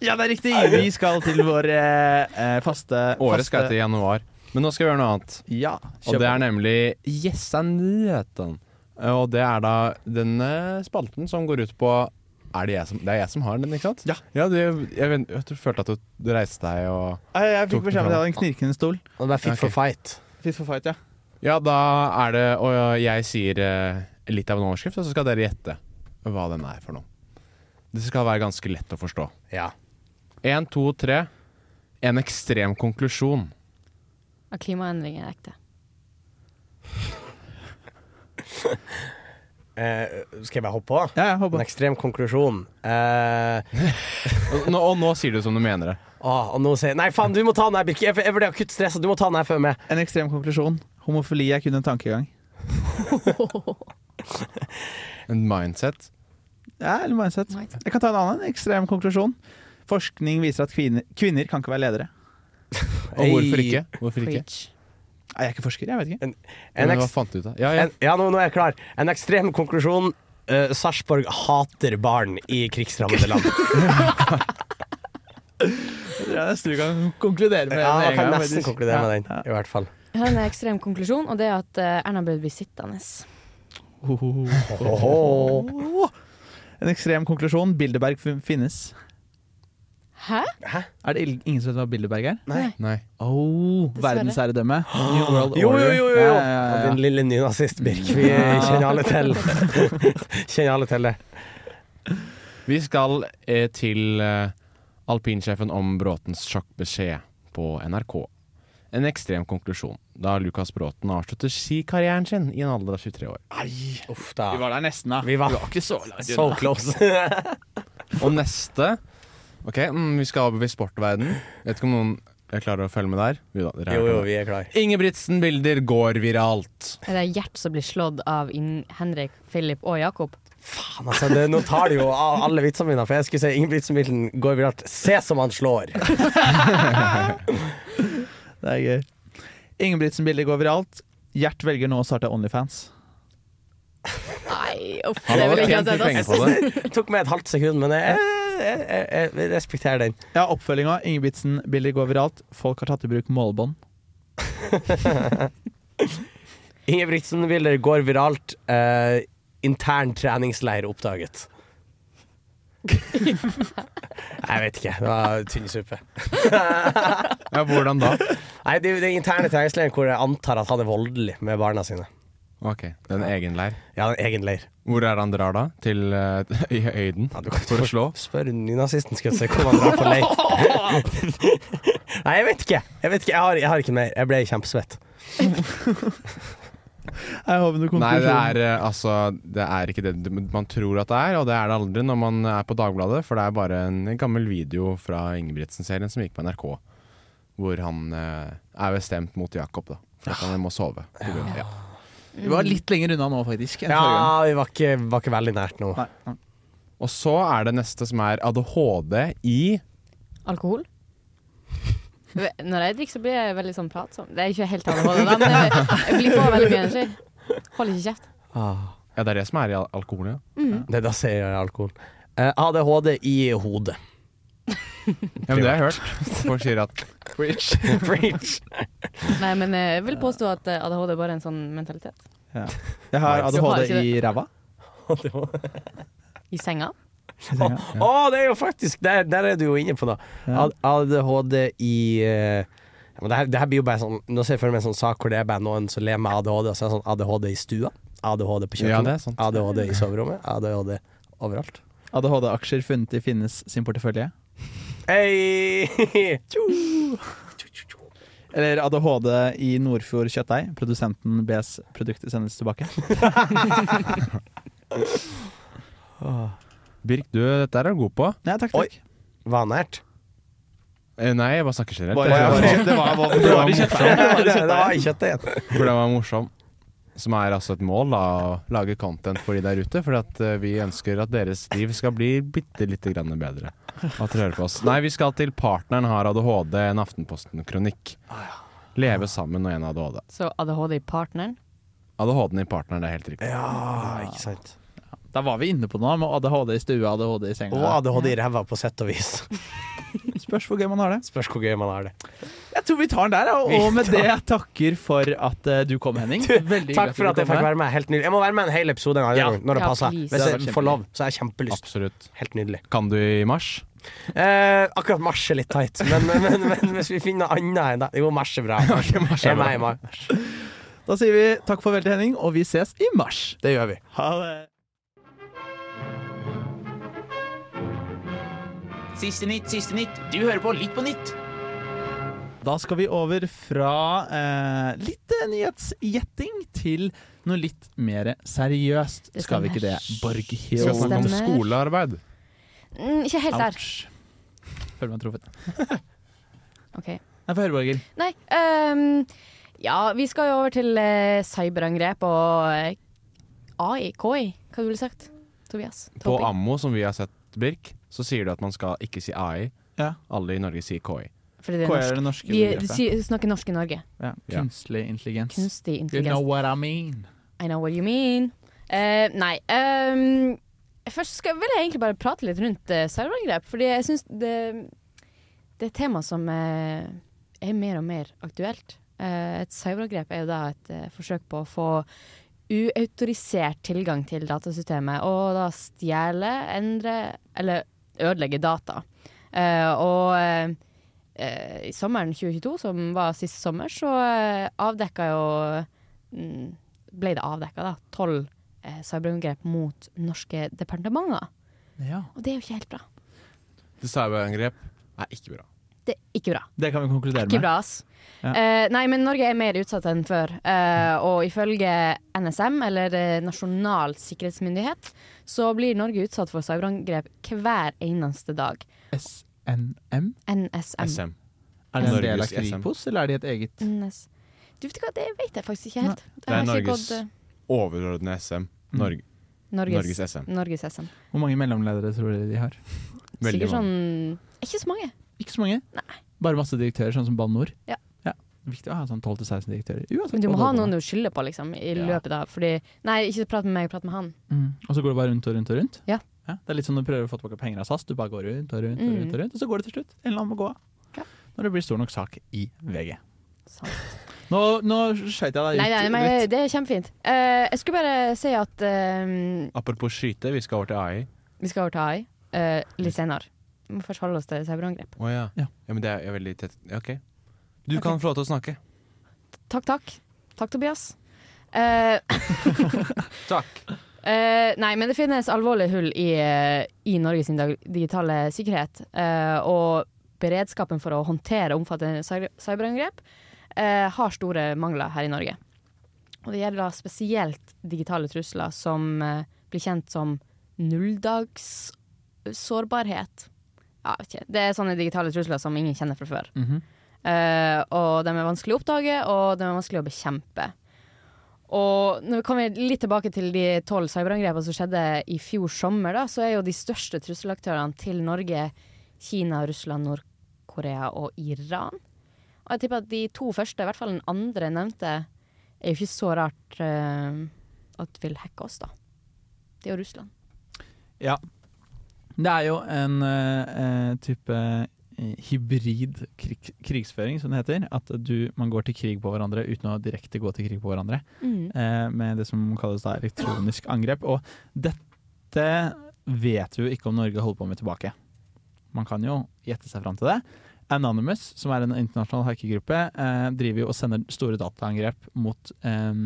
[SPEAKER 8] Ja, det er riktig! Vi skal til vår eh, eh, faste
[SPEAKER 10] Året
[SPEAKER 8] faste-
[SPEAKER 10] skal jeg til januar. Men nå skal vi gjøre noe annet.
[SPEAKER 8] Ja,
[SPEAKER 10] Og det
[SPEAKER 8] kjør
[SPEAKER 10] er nemlig Gjessa nyheten. Og det er da denne spalten som går ut på er det, jeg som, det er jeg som har den, ikke sant?
[SPEAKER 8] Ja.
[SPEAKER 10] det, jeg, vet- jeg, tror- følte at du, du reiste deg og
[SPEAKER 8] på. Jeg, jeg
[SPEAKER 10] Tok
[SPEAKER 8] fikk
[SPEAKER 10] den
[SPEAKER 8] beskjed om at jeg
[SPEAKER 10] fra
[SPEAKER 8] hadde en knirkende stol.
[SPEAKER 11] Det ble fit for fight.
[SPEAKER 8] Fit for fight, ja.
[SPEAKER 10] Ja, da er det Og jeg sier eh, litt av en overskrift, og så skal dere gjette hva den er for noe. Det skal være ganske lett å forstå.
[SPEAKER 11] Ja.
[SPEAKER 10] Én, to, tre. En ekstrem konklusjon.
[SPEAKER 9] At klimaendringer er ekte.
[SPEAKER 11] Eh, skal jeg bare hoppe på?
[SPEAKER 8] Ja, jeg
[SPEAKER 11] En
[SPEAKER 8] håper.
[SPEAKER 11] ekstrem konklusjon. Eh,
[SPEAKER 10] Og nå, og nå sier du det som du mener det.
[SPEAKER 11] ah, og nå sier jeg Nei, faen, du må ta den her, Birke. Jeg, jeg ble akutt stressa. Du må ta den her før meg.
[SPEAKER 8] En ekstrem konklusjon. Homofili er kun en tankegang.
[SPEAKER 10] En mindset.
[SPEAKER 8] Ja, eller mindset.
[SPEAKER 9] Mindset.
[SPEAKER 8] Jeg kan ta en annen en ekstrem konklusjon. Forskning viser at kvinner, kvinner kan ikke være ledere.
[SPEAKER 10] Og hvorfor ikke? Hvorfor ikke?
[SPEAKER 9] Preach.
[SPEAKER 8] Nei, jeg er ikke forsker, jeg vet ikke.
[SPEAKER 11] En
[SPEAKER 10] Men hva
[SPEAKER 11] ekst-
[SPEAKER 10] fant du ut av? Ja, ja.
[SPEAKER 11] en, ja, nå, nå er jeg klar. En ekstrem konklusjon. Eh, Sarpsborg hater barn i krigsrammede land.
[SPEAKER 8] Jeg tror jeg nesten vi kan konkludere med
[SPEAKER 11] Ja,
[SPEAKER 8] det med en
[SPEAKER 11] man kan
[SPEAKER 8] gang,
[SPEAKER 11] nesten
[SPEAKER 8] faktisk.
[SPEAKER 11] konkludere med
[SPEAKER 8] Ja,
[SPEAKER 11] den, i hvert fall.
[SPEAKER 9] Jeg har en ekstrem konklusjon, og det er at eh, Erna Braut blir sittende.
[SPEAKER 8] ja. Ho, ho, ho.
[SPEAKER 11] Åhå.
[SPEAKER 8] En ekstrem konklusjon. Bilderberg fin- finnes.
[SPEAKER 9] Hæ?
[SPEAKER 8] Er det il- ingen som vet hva Bilderberg er?
[SPEAKER 10] Nei.
[SPEAKER 8] Oh,
[SPEAKER 9] Dessverre.
[SPEAKER 8] verdensherredømme. New World
[SPEAKER 11] Jo, jo,
[SPEAKER 8] Order.
[SPEAKER 11] jo, jo, jo.
[SPEAKER 8] Ja, ja, ja, ja.
[SPEAKER 11] Din lille nynazist, Birk. Vi kjenner alle til Kjenner alle til det.
[SPEAKER 10] Vi skal eh, til eh, alpinsjefen om Bråtens sjokkbeskjed på NRK. En ekstrem konklusjon da Lukas Bråten avslutter skikarrieren sin i en alder av 23 år.
[SPEAKER 11] Uff da.
[SPEAKER 8] Vi var der nesten, da.
[SPEAKER 11] Vi var-
[SPEAKER 8] ikke så langt
[SPEAKER 11] So
[SPEAKER 8] unna.
[SPEAKER 11] close.
[SPEAKER 10] Og neste Ok, mm, vi skal over i sportverden. Vet ikke om noen jeg klarer å følge med der. Jo da, dere er
[SPEAKER 11] Jo, jo,
[SPEAKER 10] med.
[SPEAKER 11] vi er klar.
[SPEAKER 10] Ingebrigtsen-bilder går viralt.
[SPEAKER 9] Er det Gjert som blir slått av inn Henrik, Philip og Jakob?
[SPEAKER 11] Faen, altså, det, nå tar det jo av alle vitsene mine, for jeg skulle si Ingebrigtsen-bilden går viralt. Se som han slår!
[SPEAKER 8] Det er gøy. Ingebrigtsen-bilder går viralt. Gjert velger nå å starte Onlyfans.
[SPEAKER 9] Nei, uff,
[SPEAKER 10] Han
[SPEAKER 9] det
[SPEAKER 10] hadde
[SPEAKER 9] vil jeg ikke ha
[SPEAKER 10] tjent mye
[SPEAKER 9] sett. altså.
[SPEAKER 10] penger
[SPEAKER 9] ass.
[SPEAKER 10] på det.
[SPEAKER 11] Det tok meg et halvt sekund, men jeg, jeg, jeg, jeg respekterer den.
[SPEAKER 8] Ja, oppfølginga. Ingebrigtsen-bilder går viralt. Folk har tatt i bruk målebånd.
[SPEAKER 11] Ingebrigtsen-bilder går viralt. Eh, intern treningsleir oppdaget. Jeg vet ikke. Det var tynn suppe.
[SPEAKER 10] Ja, hvordan da?
[SPEAKER 11] Nei, det er jo den interne treningsleiren hvor jeg antar at han er voldelig med barna sine.
[SPEAKER 10] Ok, det er en egen leir.
[SPEAKER 11] Ja, en egen leir.
[SPEAKER 10] Hvor er det han drar da? Til eh, i høyden? for å slå?
[SPEAKER 11] Spør nynazisten, skal jeg se hvor man drar på leir. Nei, jeg vet ikke. Jeg vet ikke, jeg har, jeg har ikke mer. Jeg ble kjempesvett.
[SPEAKER 8] Jeg håper noen
[SPEAKER 10] Nei, det
[SPEAKER 8] konklusjon.
[SPEAKER 10] er eh, altså Det er ikke det du- man tror at det er, og det er det aldri når man er på Dagbladet, for det er bare en gammel video fra Ingebrigtsen-serien som gikk på NRK, hvor han eh, er bestemt mot Jakob, da. For at han må sove. på grunn av- Ja.
[SPEAKER 8] Vi var litt lenger unna nå, faktisk. enn forrige gang.
[SPEAKER 11] Ja, vi var ikke, var ikke veldig nært nå.
[SPEAKER 8] Nei, nei.
[SPEAKER 10] Og så er det neste som er ADHD i
[SPEAKER 9] Alkohol? Når jeg drikker, så blir jeg veldig sånn pratsom. Det er ikke helt ADHD, da, men jeg jeg blir på veldig mye energi. Holder ikke kjeft.
[SPEAKER 11] Ah,
[SPEAKER 10] Ja, det er det som er i al- alkoholen, ja.
[SPEAKER 11] det da sier jeg alkohol. Eh, ADHD i hodet.
[SPEAKER 10] Ja, men det har jeg hørt. Folk sier at
[SPEAKER 11] Preach.
[SPEAKER 9] Nei, men jeg vil påstå at eh, ADHD er bare en sånn mentalitet.
[SPEAKER 8] Jeg har
[SPEAKER 9] Så har
[SPEAKER 8] ADHD
[SPEAKER 9] ikke
[SPEAKER 8] i ræva.
[SPEAKER 9] I senga.
[SPEAKER 11] Å, å, det er jo faktisk Der, der er du jo inne på det.
[SPEAKER 8] Ja.
[SPEAKER 11] A- ADHD i eh, ja, men det, her, det her blir jo bare sånn Nå ser jeg for meg en sånn sak hvor det er bare noen som lever med ADHD, og så er det sånn ADHD i stua, ADHD på
[SPEAKER 10] Ja, det er
[SPEAKER 11] kjøkkenet,
[SPEAKER 10] sant.
[SPEAKER 11] ADHD i soverommet, ADHD overalt.
[SPEAKER 8] ADHD-aksjer funnet i Finnes sin portefølje.
[SPEAKER 11] Hey!
[SPEAKER 8] Eller ADHD i Nordfjord kjøttdeig. Produsenten bes produktet sendes tilbake.
[SPEAKER 10] Birk, du, dette er du god på.
[SPEAKER 8] Nei, takk,
[SPEAKER 11] Oi.
[SPEAKER 8] takk.
[SPEAKER 11] Vanært.
[SPEAKER 10] Eh, Nei, jeg bare snakker generelt.
[SPEAKER 8] Bare- bare- det var- var-
[SPEAKER 10] det var
[SPEAKER 11] Det,
[SPEAKER 10] morsom,
[SPEAKER 11] det var i kjøttet igjen.
[SPEAKER 10] for det var morsom. Som er altså et mål, da, å lage content for de der ute. For at eh, vi ønsker at deres liv skal bli bitte lite grann bedre. Og At dere hører på oss. Nei, vi skal til partneren har ADHD, en Aftenposten-kronikk.
[SPEAKER 11] Ah,
[SPEAKER 10] Leve sammen og en ADHD.
[SPEAKER 9] Så ADHD i partneren.
[SPEAKER 10] ADHD-en i partneren, det er helt riktig.
[SPEAKER 11] Ja, Ah, ikke sant.
[SPEAKER 8] Da var vi inne på noe med ADHD i stua, ADHD i senga.
[SPEAKER 11] Og ADHD i ræva, på sett og vis.
[SPEAKER 8] Spørs hvor gøy man har det.
[SPEAKER 11] Spørs hvor gøy man har det.
[SPEAKER 8] Jeg tror vi tar den der, ja, og med det jeg takker for at eh, du kom, Henning. Veldig
[SPEAKER 11] Takk
[SPEAKER 8] hyggelig
[SPEAKER 11] for at
[SPEAKER 8] du kom
[SPEAKER 11] jeg fikk
[SPEAKER 8] her.
[SPEAKER 11] være med helt nydelig. Jeg må være med en hel episode en annen
[SPEAKER 8] Ja.
[SPEAKER 11] gang, når det
[SPEAKER 9] Ja,
[SPEAKER 11] passer.
[SPEAKER 9] please.
[SPEAKER 11] Hvis
[SPEAKER 8] Det hadde vært
[SPEAKER 11] jeg får lov, så har jeg kjempelyst.
[SPEAKER 10] Absolutt.
[SPEAKER 11] Helt nydelig.
[SPEAKER 10] Kan du i mars?
[SPEAKER 11] Eh, akkurat mars er litt tight, men, men, men hvis vi finner noe annet enn det Jo, mars er bra. Jeg er med i mars.
[SPEAKER 8] Da sier vi takk farvel til Henning, og vi ses i mars.
[SPEAKER 11] Det gjør vi.
[SPEAKER 8] Ha det.
[SPEAKER 2] Siste nytt, siste nytt. Du hører på Litt på nytt.
[SPEAKER 8] Da skal vi over fra eh, litt eh, nyhetsgjetting til noe litt mer seriøst.
[SPEAKER 9] Det
[SPEAKER 8] Skal vi ikke det,
[SPEAKER 10] Vi
[SPEAKER 9] stemmer.
[SPEAKER 8] Borghild?
[SPEAKER 10] skal snakke om
[SPEAKER 9] Stemmer.
[SPEAKER 10] skolearbeid.
[SPEAKER 9] Mm, ikke helt der.
[SPEAKER 8] Ouch. Føler meg truffet.
[SPEAKER 9] OK.
[SPEAKER 8] Nei, få høre, Borghild.
[SPEAKER 9] Nei, ehm, ja, vi skal jo over til eh, cyberangrep og eh, AI, KI, hva du ville sagt, Tobias?
[SPEAKER 10] På
[SPEAKER 9] Topi.
[SPEAKER 10] Ammo, som vi har sett, Birk, så sier du at man skal ikke si AI.
[SPEAKER 8] Ja.
[SPEAKER 10] Alle i Norge sier KI.
[SPEAKER 9] Fordi det er
[SPEAKER 8] Hva
[SPEAKER 9] norsk.
[SPEAKER 8] er det norske
[SPEAKER 9] De, de
[SPEAKER 8] begrepet?
[SPEAKER 9] sier- snakker norsk i Norge.
[SPEAKER 8] Ja.
[SPEAKER 10] Ja.
[SPEAKER 8] Kunstig intelligens.
[SPEAKER 9] Kunstig
[SPEAKER 8] You know
[SPEAKER 9] intelligens.
[SPEAKER 8] what I mean.
[SPEAKER 9] I know what you mean. Eh, nei. ehm, først skal, vil jeg egentlig bare prate litt rundt eh, cyberangrep, fordi jeg syns det, det er et tema som eh, er mer og mer aktuelt. Eh, et cyberangrep er jo da et eh, forsøk på å få uautorisert tilgang til datasystemet, og da stjele, endre eller ødelegge data. Eh, og eh, eh, i sommeren 2022, som var sist sommer, så eh, avdekka jo mm, Ble det avdekka tolv eh, cyberangrep mot norske departementer.
[SPEAKER 8] Ja.
[SPEAKER 9] Og det er jo ikke helt bra.
[SPEAKER 10] Det Cyberangrep er ikke bra.
[SPEAKER 9] Det er ikke bra.
[SPEAKER 8] Det kan vi konkludere
[SPEAKER 9] Ikke
[SPEAKER 8] med.
[SPEAKER 9] bra, ass.
[SPEAKER 8] Ja.
[SPEAKER 9] Eh, nei, men Norge er mer utsatt enn før. Eh, og ifølge NSM, eller eh, Nasjonal sikkerhetsmyndighet, så blir Norge utsatt for cyberangrep hver eneste dag.
[SPEAKER 8] SNM?
[SPEAKER 9] NSM.
[SPEAKER 10] SM.
[SPEAKER 8] Er det en
[SPEAKER 10] Norges
[SPEAKER 8] del av
[SPEAKER 10] SM.
[SPEAKER 8] Kripos, eller er de et eget
[SPEAKER 9] NS. Du vet ikke hva, det vet jeg faktisk ikke helt. Det
[SPEAKER 10] er
[SPEAKER 9] har ikke
[SPEAKER 10] Norges-
[SPEAKER 9] gått, eh,
[SPEAKER 10] Overordnet SM. Norge.
[SPEAKER 9] Mm. Norges,
[SPEAKER 10] Norges SM.
[SPEAKER 9] Norges SM.
[SPEAKER 8] Hvor mange mellomledere tror dere de har?
[SPEAKER 10] Veldig
[SPEAKER 9] Sikkert sånn Ikke så mange.
[SPEAKER 8] Ikke så mange. Bare masse direktører, sånn som Bane NOR.
[SPEAKER 9] Ja.
[SPEAKER 8] Viktig å ha sånn 12-16 direktører. Uansett
[SPEAKER 9] Men du
[SPEAKER 8] hva
[SPEAKER 9] må ha
[SPEAKER 8] det er.
[SPEAKER 9] noen du skylder på, liksom, i løpet av Fordi Nei, ikke prat med meg, prat med han.
[SPEAKER 8] Mm. Og så går det bare rundt og rundt og rundt?
[SPEAKER 9] Ja.
[SPEAKER 8] Det er litt som når du prøver å få tilbake penger av SAS. Du bare går rundt og rundt, og
[SPEAKER 9] Mm.
[SPEAKER 8] rundt, og rundt, og så går det til slutt. En eller annen må gå av.
[SPEAKER 9] Ja.
[SPEAKER 8] Når det blir stor nok sak i VG.
[SPEAKER 9] Sant.
[SPEAKER 8] Nå, nå skøyt jeg deg ut
[SPEAKER 9] Nei, nei, men
[SPEAKER 8] litt.
[SPEAKER 9] det er kjempefint. Eh, jeg skulle bare si at eh,
[SPEAKER 10] Apropos skyte, vi skal over til AI.
[SPEAKER 9] Vi skal over til AI eh, litt senere. Vi må først holde oss til cyberangrep.
[SPEAKER 10] Å ja.
[SPEAKER 8] Ja.
[SPEAKER 10] ja. Men det er jeg er veldig tett ja, OK. Du kan få lov til å snakke.
[SPEAKER 9] Takk, takk. Takk, Tobias. Eh,
[SPEAKER 10] Takk.
[SPEAKER 9] Eh, nei, men det finnes alvorlige hull i, eh, i Norges dag- digitale sikkerhet. eh, og beredskapen for å håndtere omfattende cy- cyberangrep eh, har store mangler her i Norge. Og det gjelder da spesielt digitale trusler som eh, blir kjent som nulldagssårbarhet. Ja, jeg vet ikke. Det er sånne digitale trusler som ingen kjenner fra før. Eh, og de er vanskelig å oppdage, og de er vanskelig å bekjempe. Og når vi kommer litt tilbake til de tolv cyberangrepene som skjedde i fjor sommer, da, så er jo de største trusselaktørene til Norge Kina, Russland, Nord-Korea og Iran. Og jeg tipper at de to første, i hvert fall den andre jeg nevnte, er jo ikke så rart eh, at vil hacke oss, da. Det er jo Russland.
[SPEAKER 8] Ja. Det er jo en eh, eh, type eh, hybrid krig, krigsføring, som det heter. At du, man går til krig på hverandre uten å direkte gå til krig på hverandre.
[SPEAKER 9] Mm.
[SPEAKER 8] Eh, med det som kalles da elektronisk angrep. Og dette vet vi jo ikke om Norge holder på med tilbake. Man kan jo gjette seg fram til det. Anonymous, som er en internasjonal hackergruppe, eh, driver jo og sender store dataangrep mot eh,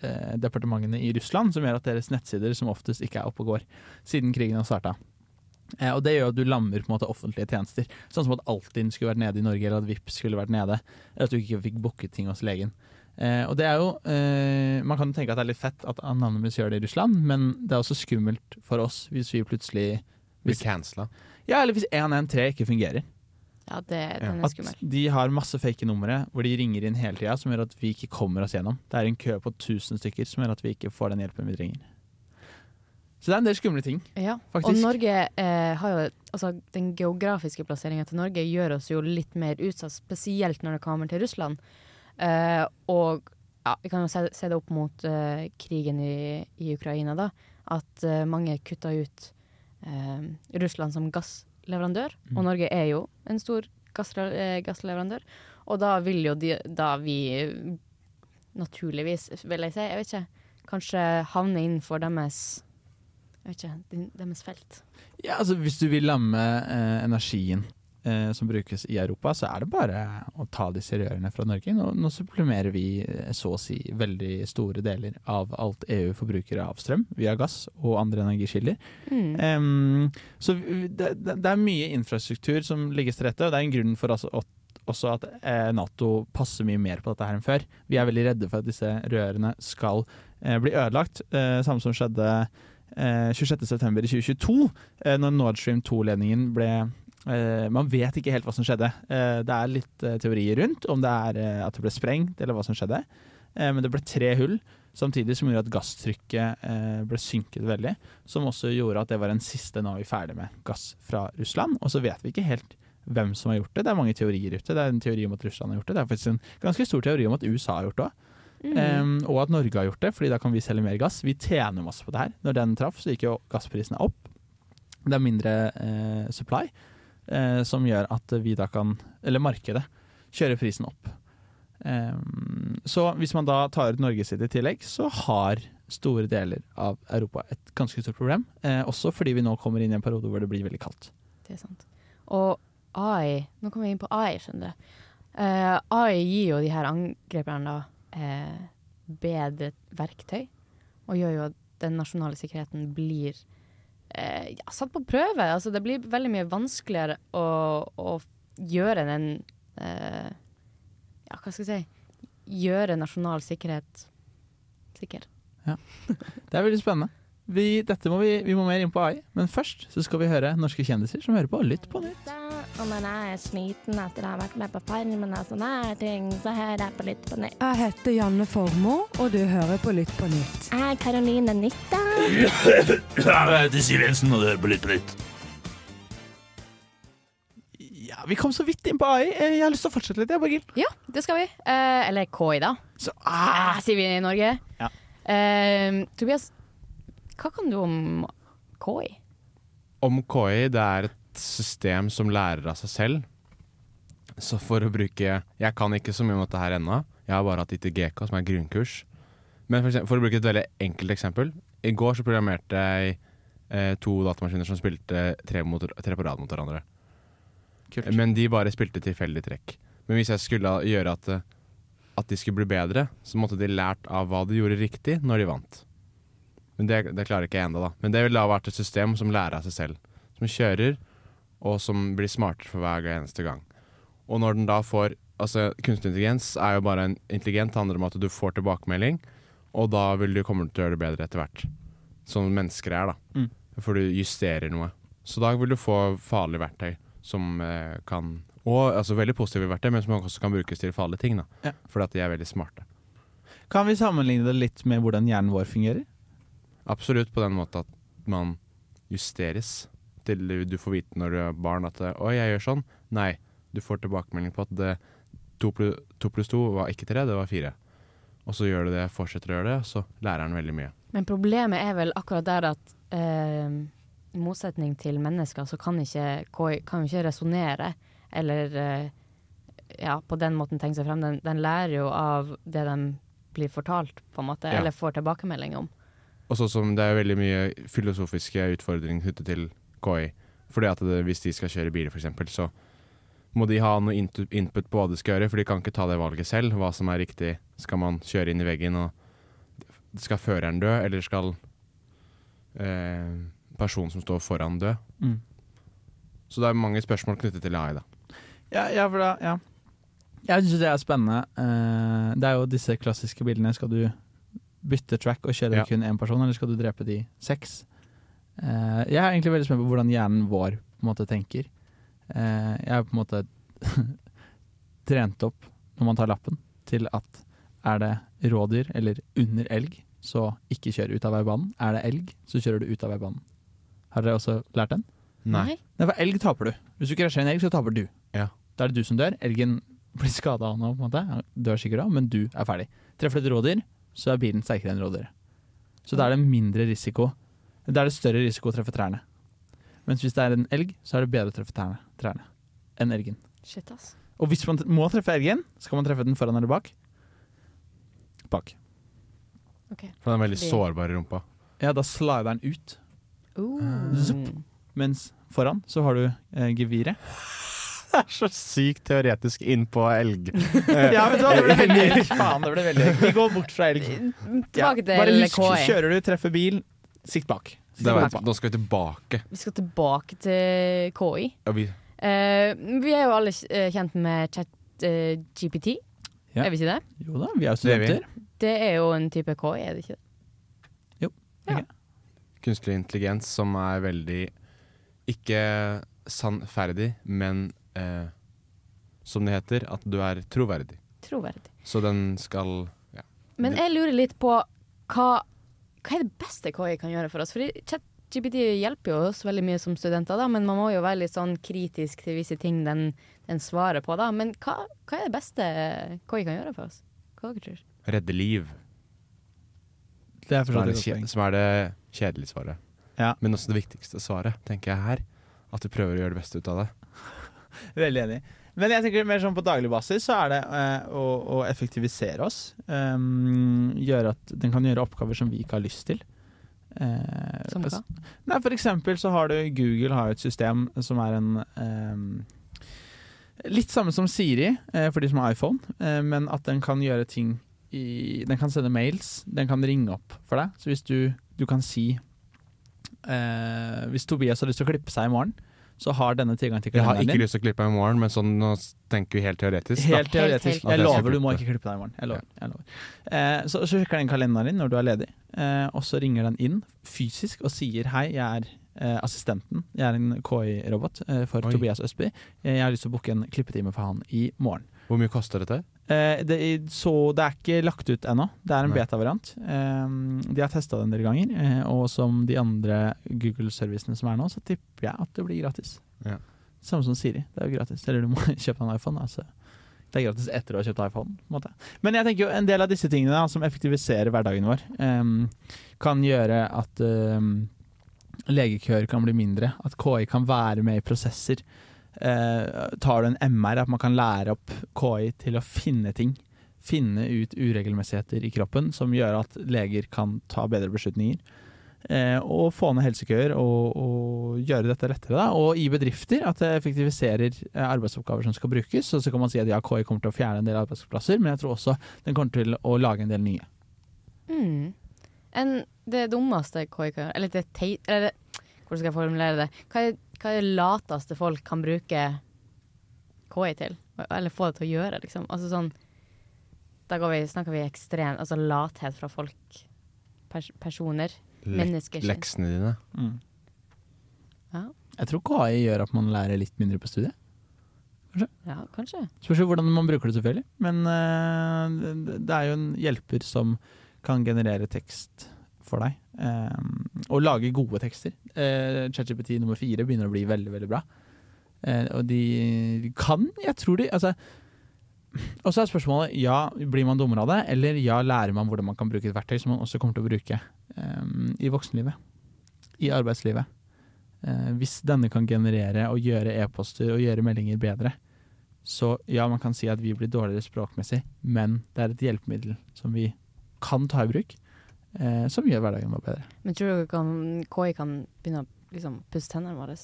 [SPEAKER 8] eh, departementene i Russland, som gjør at deres nettsider som oftest ikke er oppe og går siden krigen har starta. Eh, og det gjør at du lammer på en måte offentlige tjenester. Sånn som at Altinn skulle vært nede i Norge, eller at Vipps skulle vært nede. Eller at du ikke fikk booket ting hos legen. Eh, og det er jo eh, Man kan jo tenke at det er litt fett at Anonymous gjør det i Russland, men det er også skummelt for oss hvis vi plutselig
[SPEAKER 10] Blir
[SPEAKER 8] hvis,
[SPEAKER 10] cancela.
[SPEAKER 8] Ja, eller hvis 113 ikke fungerer.
[SPEAKER 9] Ja, det, den er
[SPEAKER 8] At
[SPEAKER 9] skummel.
[SPEAKER 8] de har masse fake numre hvor de ringer inn hele tida, som gjør at vi ikke kommer oss gjennom. Det er en kø på 1000 stykker som gjør at vi ikke får den hjelpen vi trenger. Så det er en del skumle ting.
[SPEAKER 9] Ja,
[SPEAKER 8] Faktisk.
[SPEAKER 9] og Norge eh, har jo Altså, den geografiske plasseringa til Norge gjør oss jo litt mer utsatt, spesielt når det kommer til Russland. Eh, og ja, vi kan jo se, se det opp mot eh, krigen i, i Ukraina, da. At eh, mange kutta ut eh, Russland som gassleverandør. Og Norge er jo en stor gassle, eh, gassleverandør. Og da vil jo de, da vi eh, naturligvis, vil jeg si, jeg vet ikke, kanskje havne innenfor deres jeg vet ikke, din- deres felt.
[SPEAKER 8] Ja, altså Hvis du vil lamme eh, energien eh, som brukes i Europa, så er det bare å ta disse rørene fra Norge. Nå, nå supplementerer vi eh, så å si veldig store deler av alt EU forbruker av strøm via gass og andre energikilder. Mm. Eh, Em, så vi- det, det det er mye infrastruktur som legges til rette, og det er en grunn for altså at også at eh, Nato passer mye mer på dette her enn før. Vi er veldig redde for at disse rørene skal eh, bli ødelagt. Eh, samme som skjedde eh, 26.9.2022, eh, når Nord Stream 2-ledningen ble eh, Man vet ikke helt hva som skjedde. Eh, det er litt eh, teorier rundt om det er eh, at det ble sprengt, eller hva som skjedde. Eh, men det ble tre hull samtidig som gjorde at gasstrykket eh, ble synket veldig. Som også gjorde at det var den siste nå er vi ferdig med gass fra Russland. Og så vet vi ikke helt hvem som har gjort det. Det er mange teorier ute. Det er en teori om at Russland har gjort det. Det er faktisk en ganske stor teori om at USA har gjort det òg.
[SPEAKER 9] Mm.
[SPEAKER 8] Ehm, og at Norge har gjort det, Fordi da kan vi selge mer gass. Vi tjener masse på det her. Når den traff, så gikk jo gassprisene opp. Det er mindre eh, supply, eh, som gjør at vi da kan, eller markedet, kjøre prisen opp. Ehm, så hvis man da tar ut Norge sitt i tillegg, så har store deler av Europa et ganske stort problem. Eh, også fordi vi nå kommer inn i en periode hvor det blir veldig kaldt.
[SPEAKER 9] Det er sant. Og AI Nå kommer jeg inn på AI, skjønner du. Eh, AI gir jo de her angreperne da eh, bedre verktøy, og gjør jo at den nasjonale sikkerheten blir eh, ja, satt på prøve. Altså, det blir veldig mye vanskeligere å, å gjøre den eh, Ja, hva skal jeg si Gjøre nasjonal sikkerhet sikker.
[SPEAKER 8] Det er veldig spennende. Vi, dette må vi, vi må mer inn på AI, men først så skal vi høre norske kjendiser som hører på Lytt på nytt.
[SPEAKER 1] Og når jeg er sliten etter å ha vært med på Farmen og sånne her ting, så hører jeg på Lytt på nytt.
[SPEAKER 12] Jeg heter Janne Formoe, og du hører på Lytt på nytt.
[SPEAKER 1] Jeg er Karoline Nytta.
[SPEAKER 13] Jeg heter Siv Jensen, og du hører på Lytt på nytt.
[SPEAKER 8] Ja, vi kom så vidt inn på AI. Eh, Jeg har lyst til å fortsette litt, jeg, Borghild.
[SPEAKER 9] Ja, det skal vi. Eh, eller KI, da.
[SPEAKER 8] Så,
[SPEAKER 9] ah, sier vi i Norge.
[SPEAKER 8] Ja.
[SPEAKER 9] Eh, Tobias, hva kan du om KI?
[SPEAKER 10] Om KI, det er et system som lærer av seg selv. Så for å bruke Jeg kan ikke så mye om dette her ennå. Jeg har bare hatt ITGK, som er grunnkurs. Men for, eksempel, for å bruke et veldig enkelt eksempel. I går så programmerte jeg eh, to datamaskiner som spilte tre, mot, tre på rad mot hverandre. Men de bare spilte tilfeldig trekk. Men hvis jeg skulle gjøre at, eh, at de skulle bli bedre, så måtte de lært av hva de gjorde riktig når de vant. Men det, det klarer ikke jeg ennå, da. Men det ville da vært et system som lærer av seg selv. Som kjører, og som blir smartere for hver eneste gang. Og når den da får Altså, kunstig intelligens er jo bare en intelligent, det handler om at du får tilbakemelding, og da vil du komme til å gjøre det bedre etter hvert. Som mennesker er, da.
[SPEAKER 8] Mm.
[SPEAKER 10] For du justerer noe. Så da vil du få farlige verktøy som eh, kan Og altså veldig positive verktøy, men som også kan brukes til farlige ting, da. Fordi at de er veldig smarte.
[SPEAKER 8] Kan vi sammenligne det litt med hvordan hjernen vår fungerer?
[SPEAKER 10] Absolutt på den måten at man justeres til du får vite når du er barn at eh, 'oi, jeg gjør sånn'. Nei, du får tilbakemelding på at det, to, plu- to pluss to var ikke tre, det var fire. Og så gjør du det, fortsetter å gjøre det, og så lærer han veldig mye.
[SPEAKER 9] Men problemet er vel akkurat der at eh, i motsetning til mennesker, så kan ikke KI kan jo ikke resonnere eller eh, ja, på den måten tenke seg frem. Den, den lærer jo av det de blir fortalt, på en måte,
[SPEAKER 10] Ja.
[SPEAKER 9] eller får tilbakemelding om.
[SPEAKER 10] Og så som det er veldig mye filosofiske utfordringer knyttet til KI. Fordi at det, hvis de skal kjøre biler, f.eks., så må de ha noe intu- input på hva de skal gjøre, for de kan ikke ta det valget selv. Hva som er riktig. Skal man kjøre inn i veggen, og skal føreren dø, eller skal eh, personen som står foran, dø?
[SPEAKER 8] Mm.
[SPEAKER 10] Så det er mange spørsmål knyttet til AI, da.
[SPEAKER 8] Ja, ja for da ja. Jeg syns det er spennende. Eh, Det er jo disse klassiske bildene. Skal du bytte track og kjøre
[SPEAKER 10] Ja.
[SPEAKER 8] kun én person, eller skal du drepe de seks? Eh, Jeg er egentlig veldig spent på hvordan hjernen vår på en måte tenker. Eh, Jeg er på en måte trent opp når man tar lappen, til at er det rådyr eller under elg, så ikke kjør ut av veibanen. Er det elg, så kjører du ut av veibanen. Har dere også lært den?
[SPEAKER 10] Nei. Nei.
[SPEAKER 8] Nei, for elg taper du. Hvis du krasjer en elg, så taper du.
[SPEAKER 10] Ja.
[SPEAKER 8] Da er det du som dør. Elgen blir skada av noe, på en måte. Han dør sikkert av, men du er ferdig. Treffer du et rådyr, så er bilen sterkere enn rådyret. Så da er det mindre risiko. Da er det større risiko å treffe trærne. Mens hvis det er en elg, så er det bedre å treffe trærne, trærne enn elgen.
[SPEAKER 9] Shit, ass.
[SPEAKER 8] Og hvis man t- må treffe elgen, skal man treffe den foran eller bak? Bak.
[SPEAKER 10] For den er veldig sårbar i rumpa.
[SPEAKER 8] Ja, da slider den ut.
[SPEAKER 9] Uh.
[SPEAKER 8] Zup. Mens foran så har du eh, geviret.
[SPEAKER 10] Det er så sykt teoretisk inn på elg. Eh,
[SPEAKER 8] ja, vet du hva, det ble veldig elg. Faen, det ble veldig elg. Vi går bort fra elg. Ja,
[SPEAKER 9] Tilbake til E.
[SPEAKER 8] Bare husk,
[SPEAKER 9] LKI.
[SPEAKER 8] kjører du, treffer bil, sikt bak. Sikt
[SPEAKER 10] Det
[SPEAKER 8] bak.
[SPEAKER 10] vet, nå skal vi tilbake.
[SPEAKER 9] Vi skal tilbake til KI.
[SPEAKER 10] Ja, vi
[SPEAKER 9] Eh, vi er jo alle eh, kjent med eh, ChatGPT,
[SPEAKER 8] Ja.
[SPEAKER 9] er vi ikke det?
[SPEAKER 8] Jo da, vi er jo
[SPEAKER 10] Det er vi.
[SPEAKER 8] studenter.
[SPEAKER 9] Det er jo en type KI, er det ikke det?
[SPEAKER 10] kunstig intelligens som er veldig ikke sannferdig, men eh, som det heter, at du er troverdig.
[SPEAKER 9] Troverdig.
[SPEAKER 10] Så den skal ja.
[SPEAKER 9] Men jeg lurer litt på hva, hva er det beste KI kan gjøre for oss? Fordi ChatGPT hjelper jo oss veldig mye som studenter, da, men man må jo være litt sånn kritisk til visse ting den, den svarer på. Da. Men hva, hva er det beste KI kan gjøre for oss? Hva dere tror
[SPEAKER 10] redde liv.
[SPEAKER 8] Det er for så vidt
[SPEAKER 10] som, er det
[SPEAKER 8] et godt
[SPEAKER 10] kje- som er det kjedelige svaret. Men også det viktigste svaret, tenker jeg her. At du prøver å gjøre det beste ut av det.
[SPEAKER 8] Veldig enig. Men jeg tenker mer sånn på daglig basis så er det eh, å, å effektivisere oss. Um, gjøre at den kan gjøre oppgaver som vi ikke har lyst til. Eh,
[SPEAKER 9] Som hva?
[SPEAKER 8] Nei, for eksempel så har du Google har jo et system som er en ehm, Litt samme som Siri eh, for de som har iPhone, eh, men at den kan gjøre ting i Den kan sende mails, den kan ringe opp for deg. Så hvis du, du kan si eh, Hvis Tobias har lyst til å klippe seg i morgen, så har denne tilgang til
[SPEAKER 10] Jeg har
[SPEAKER 8] kalenderen
[SPEAKER 10] ikke
[SPEAKER 8] din.
[SPEAKER 10] lyst til å klippe meg i morgen, men sånn, nå tenker vi helt teoretisk. da.
[SPEAKER 8] Helt teoretisk. Jeg lover, du må ikke klippe deg i morgen. Jeg lover. Jeg lover. Eh, så, så sjekker den kalenderen din når du er ledig, eh, og så ringer den inn fysisk og sier hei, jeg er eh, assistenten, jeg er en KI-robot eh, for
[SPEAKER 10] Oi.
[SPEAKER 8] Tobias Østby. Eh, Jeg har lyst til å booke en klippetime for han i morgen.
[SPEAKER 10] Hvor mye koster dette?
[SPEAKER 8] Eh, det, er- så det er ikke lagt ut ennå. Det er en
[SPEAKER 10] Nei.
[SPEAKER 8] beta-variant. Eh, de har testa den en del ganger, eh, og som de andre Google-servicene som er nå, så tipper jeg at det blir gratis.
[SPEAKER 10] Ja.
[SPEAKER 8] Samme som Siri, det er jo gratis. Eller du må kjøpe en iPhone. Altså. Det er gratis etter å ha kjøpt iPhone. På en måte. Men jeg tenker jo en del av disse tingene da, som effektiviserer hverdagen vår, eh, kan gjøre at eh, legekøer kan bli mindre, at KI kan være med i prosesser. Eh, tar du en MR, at man kan lære opp KI til å finne ting. Finne ut uregelmessigheter i kroppen som gjør at leger kan ta bedre beslutninger. eh, å få ned helsekøer og, og gjøre dette lettere. Da. Og i bedrifter at det effektiviserer eh, arbeidsoppgaver som skal brukes. Og så kan man si at ja, KI kommer til å fjerne en del arbeidsplasser, men jeg tror også den kommer til å lage en del nye.
[SPEAKER 9] Mm. En, det dummeste KI kan gjøre Eller det tei... Eller det, hvordan skal jeg formulere det? Hva er, hva er det lateste folk kan bruke KI til? Eller få det til å gjøre, liksom? Altså sånn Da går vi, snakker vi ekstrem Altså lathet fra folk. Pers personer. Mennesker.
[SPEAKER 10] Leksene dine.
[SPEAKER 9] Ja.
[SPEAKER 8] Mm. Jeg tror KI gjør at man lærer litt mindre på studiet.
[SPEAKER 9] ja, kanskje.
[SPEAKER 8] Spørs jo hvordan man bruker det selvfølgelig, men eh, det- det er jo en hjelper som kan generere tekst for deg. eh, og lage gode tekster. Eh, ChatGPT nummer fire begynner å bli veldig, veldig bra. Eh, og de kan, jeg tror de altså, Og så er spørsmålet ja, blir man dummere av det, eller ja, lærer man hvordan man kan bruke et verktøy som man også kommer til å bruke eh, i voksenlivet. I arbeidslivet. Eh, hvis denne kan generere og gjøre e-poster og gjøre meldinger bedre, så ja, man kan si at vi blir dårligere språkmessig, men det er et hjelpemiddel som vi kan ta i bruk, eh, som gjør hverdagen vår bedre.
[SPEAKER 9] Men tror dere kan, KI kan begynne å liksom, pusse tennene våre?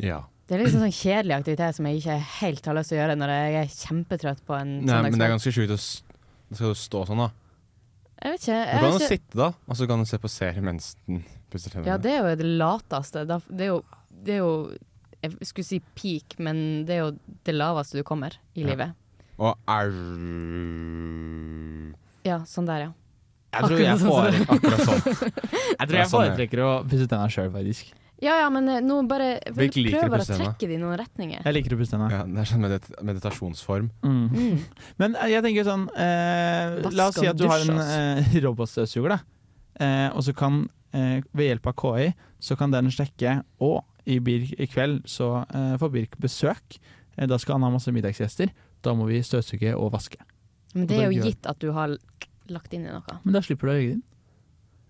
[SPEAKER 10] Ja.
[SPEAKER 9] Det er liksom sånn kjedelig aktivitet som jeg ikke helt har lyst til å gjøre når jeg er kjempetrøtt på en
[SPEAKER 10] Nei, men det er
[SPEAKER 9] søndagskveld.
[SPEAKER 10] ganske sjukt å s- Skal du stå sånn, da?
[SPEAKER 9] Jeg vet
[SPEAKER 10] Du
[SPEAKER 9] ikke. Jeg
[SPEAKER 10] kan
[SPEAKER 9] vet
[SPEAKER 10] jo
[SPEAKER 9] ikke.
[SPEAKER 10] sitte, da, og så kan du se på serie mens den pusser tennene.
[SPEAKER 9] Ja, det er jo det lateste. Da- Det er jo, det er jo Jeg skulle si peak, men det er jo det laveste du kommer i
[SPEAKER 10] Ja.
[SPEAKER 9] livet.
[SPEAKER 10] Og au
[SPEAKER 9] Ja, sånn der, ja.
[SPEAKER 8] Jeg tror jeg
[SPEAKER 9] Akkurat
[SPEAKER 8] foretrekker,
[SPEAKER 9] sånn som det-
[SPEAKER 8] akkurat sånn. jeg tror jeg foretrekker å pusse tenna sjøl, faktisk.
[SPEAKER 9] Ja ja, men eh, nå bare
[SPEAKER 10] Hvilke liker
[SPEAKER 9] prøv
[SPEAKER 10] du
[SPEAKER 9] bare å
[SPEAKER 10] best, Emma?
[SPEAKER 9] trekke det i noen retninger.
[SPEAKER 8] Jeg liker å pusse tenna.
[SPEAKER 10] Ja, det er sånn medit meditasjonsform.
[SPEAKER 8] Mm. Men eh, jeg tenker sånn eh, La oss si at du har en
[SPEAKER 9] altså.
[SPEAKER 8] eh, robotstøvsuger, da. Eh, og så kan, eh, ved hjelp av KI, så kan den sjekke Å, i, Birk, i kveld så eh, får Birk besøk. Eh, da skal han ha masse middagsgjester. Da må vi støvsuge og vaske.
[SPEAKER 9] Men
[SPEAKER 8] Og
[SPEAKER 9] det
[SPEAKER 8] da
[SPEAKER 9] er jo
[SPEAKER 8] gjør-
[SPEAKER 9] gitt at du har l- lagt inn i noe.
[SPEAKER 8] Men da slipper du å legge det inn.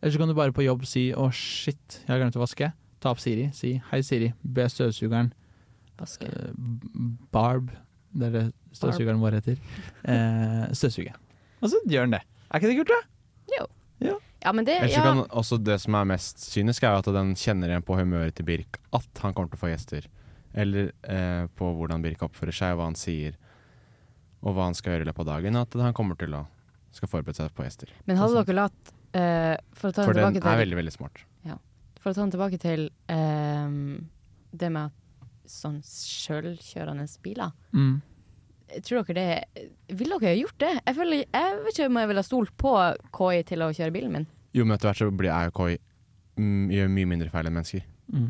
[SPEAKER 8] Eller så kan du bare på jobb si 'Å, shit, jeg har glemt å vaske'. Ta opp Siri. Si 'Hei, Siri, be støvsugeren eh, b- Barb, det er det støvsugeren vår heter. Eh, støvsuge. Og så gjør den det. Er ikke det kult, da?
[SPEAKER 9] Jo. Ja, men det
[SPEAKER 10] Ellers så
[SPEAKER 9] ja.
[SPEAKER 10] kan også det som er mest kynisk, er jo at den kjenner igjen på humøret til Birk at han kommer til å få gjester. Eller eh, på hvordan Birk oppfører seg, og hva han sier, og hva han skal gjøre i løpet av dagen. og At han kommer til å skal forberede seg på gjester.
[SPEAKER 9] Men hadde dere latt eh, For å ta
[SPEAKER 10] Sånn. For
[SPEAKER 9] den
[SPEAKER 10] den
[SPEAKER 9] tilbake
[SPEAKER 10] er
[SPEAKER 9] til
[SPEAKER 10] veldig, veldig smart.
[SPEAKER 9] Ja. For å ta den tilbake til ehm, det med at sånn sjølkjørende biler.
[SPEAKER 8] Mm.
[SPEAKER 9] Tror dere det Ville dere ha gjort det? Jeg, føler, jeg vet ikke om jeg ville ha stolt på KI til å kjøre bilen min.
[SPEAKER 10] Jo, men etter hvert så blir er jo KI mm, gjør mye mindre feil enn mennesker.
[SPEAKER 8] Mm.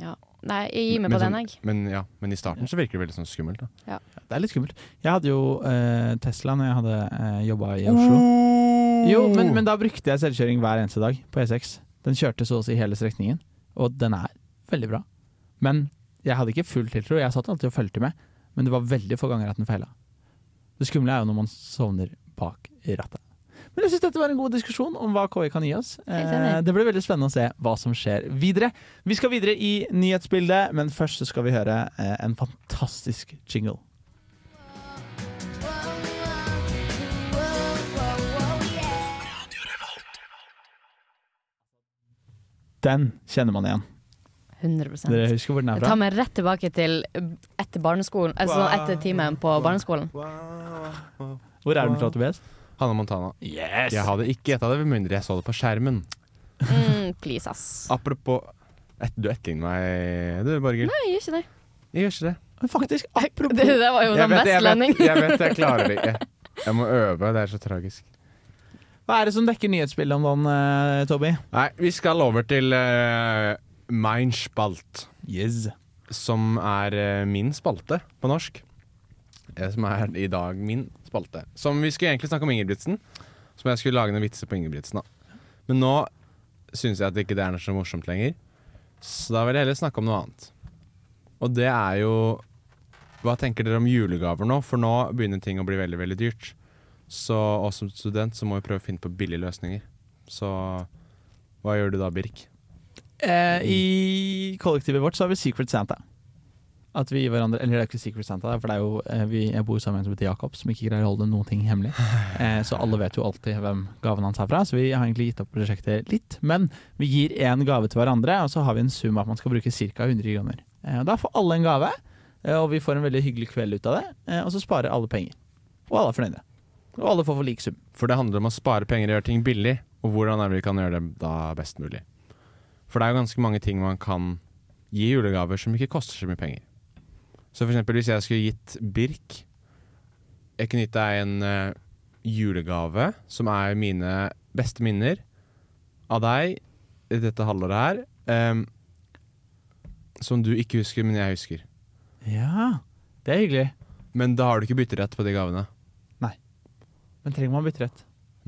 [SPEAKER 9] Ja. Nei, jeg gir meg
[SPEAKER 10] Men
[SPEAKER 9] på den,
[SPEAKER 10] sånn-
[SPEAKER 9] jeg.
[SPEAKER 10] Men, ja, men i starten så virker det veldig sånn skummelt. Da.
[SPEAKER 9] Ja.
[SPEAKER 8] Det er litt skummelt. Jeg hadde jo eh, Tesla når jeg hadde eh, jobba i Oslo. Jo, men, men da brukte jeg selvkjøring hver eneste dag på E6. Den kjørte så å si hele strekningen, og den er veldig bra. Men jeg hadde ikke full tiltro. Jeg satt alltid og fulgte med, men det var veldig få ganger at den feila. Det skumle er jo når man sovner bak rattet. Men jeg syns dette var en god diskusjon om hva KI kan gi oss.
[SPEAKER 14] enig.
[SPEAKER 8] Eh, det blir veldig spennende å se hva som skjer videre. Vi skal videre i nyhetsbildet, men først så skal vi høre eh, en fantastisk jingle. Den kjenner man igjen.
[SPEAKER 9] 100
[SPEAKER 8] Dere husker hvor den er
[SPEAKER 9] Jeg
[SPEAKER 8] fra?
[SPEAKER 9] tar meg rett tilbake til eh, etter barneskolen Altså sånn etter timen på barneskolen.
[SPEAKER 8] Hvor er den fra, Tobias?
[SPEAKER 10] Hanne Montana.
[SPEAKER 8] Yes!
[SPEAKER 10] Jeg hadde ikke gjetta det med mindre jeg så det på skjermen.
[SPEAKER 9] Mm, please, ass.
[SPEAKER 8] Ah.
[SPEAKER 10] Apropos et, Du etterligner meg, du, Borghild.
[SPEAKER 9] Nei, jeg gjør ikke det.
[SPEAKER 10] Jeg gjør ikke det.
[SPEAKER 8] Faktisk, apropos
[SPEAKER 9] Det, det var jo
[SPEAKER 10] Jeg
[SPEAKER 9] den
[SPEAKER 10] vet det, jeg
[SPEAKER 9] vestlending.
[SPEAKER 10] vet- Jeg vet jeg klarer det ikke. Jeg må øve, det er så tragisk.
[SPEAKER 8] Hva er det som dekker nyhetsbildet om dagen, eh, Tobby?
[SPEAKER 10] Nei, vi skal over til uh, Mein Spalt.
[SPEAKER 8] Yes.
[SPEAKER 10] Som er eh, min spalte på norsk. Eh, Som er i dag min spalte. Som vi skulle egentlig snakke om Ingebrigtsen. Som jeg skulle lage noen vitser på Ingebrigtsen. Da. Men nå syns jeg at det ikke er noe så morsomt lenger. Så da vil jeg heller snakke om noe annet. Og det er jo Hva tenker dere om julegaver nå? For nå begynner ting å bli veldig, veldig dyrt. Så og som student så må vi prøve å finne på billige løsninger. Så hva gjør du da, Birk?
[SPEAKER 8] Eh, I kollektivet vårt så har vi Secret Santa. At vi gir hverandre Eller det er ikke Secret Santa, for det er jo eh, vi, jeg bor sammen med en som heter Jakob, som ikke greier å holde noen ting hemmelig. Eh, så alle vet jo alltid hvem gaven hans er fra, så vi har egentlig gitt opp prosjektet litt. Men vi gir én gave til hverandre, og så har vi en sum at man skal bruke ca. 100 kroner. Eh, og da får alle en gave, eh, og vi får en veldig hyggelig kveld ut av det. Eh, og så sparer alle penger. Og alle er fornøyde. Og alle får for lik sum.
[SPEAKER 10] For det handler om å spare penger og gjøre ting billig, og hvordan er det vi kan gjøre det da best mulig. For det er jo ganske mange ting man kan gi i julegaver som ikke koster så mye penger. Så for eksempel hvis jeg skulle gitt Birk Jeg kunne gitt deg en eh, julegave som er mine beste minner av deg i dette halvåret her, em, som du ikke husker, men jeg husker.
[SPEAKER 8] Ja, det er hyggelig.
[SPEAKER 10] Men da har du ikke bytterett på de gavene.
[SPEAKER 8] Men trenger man bytterett?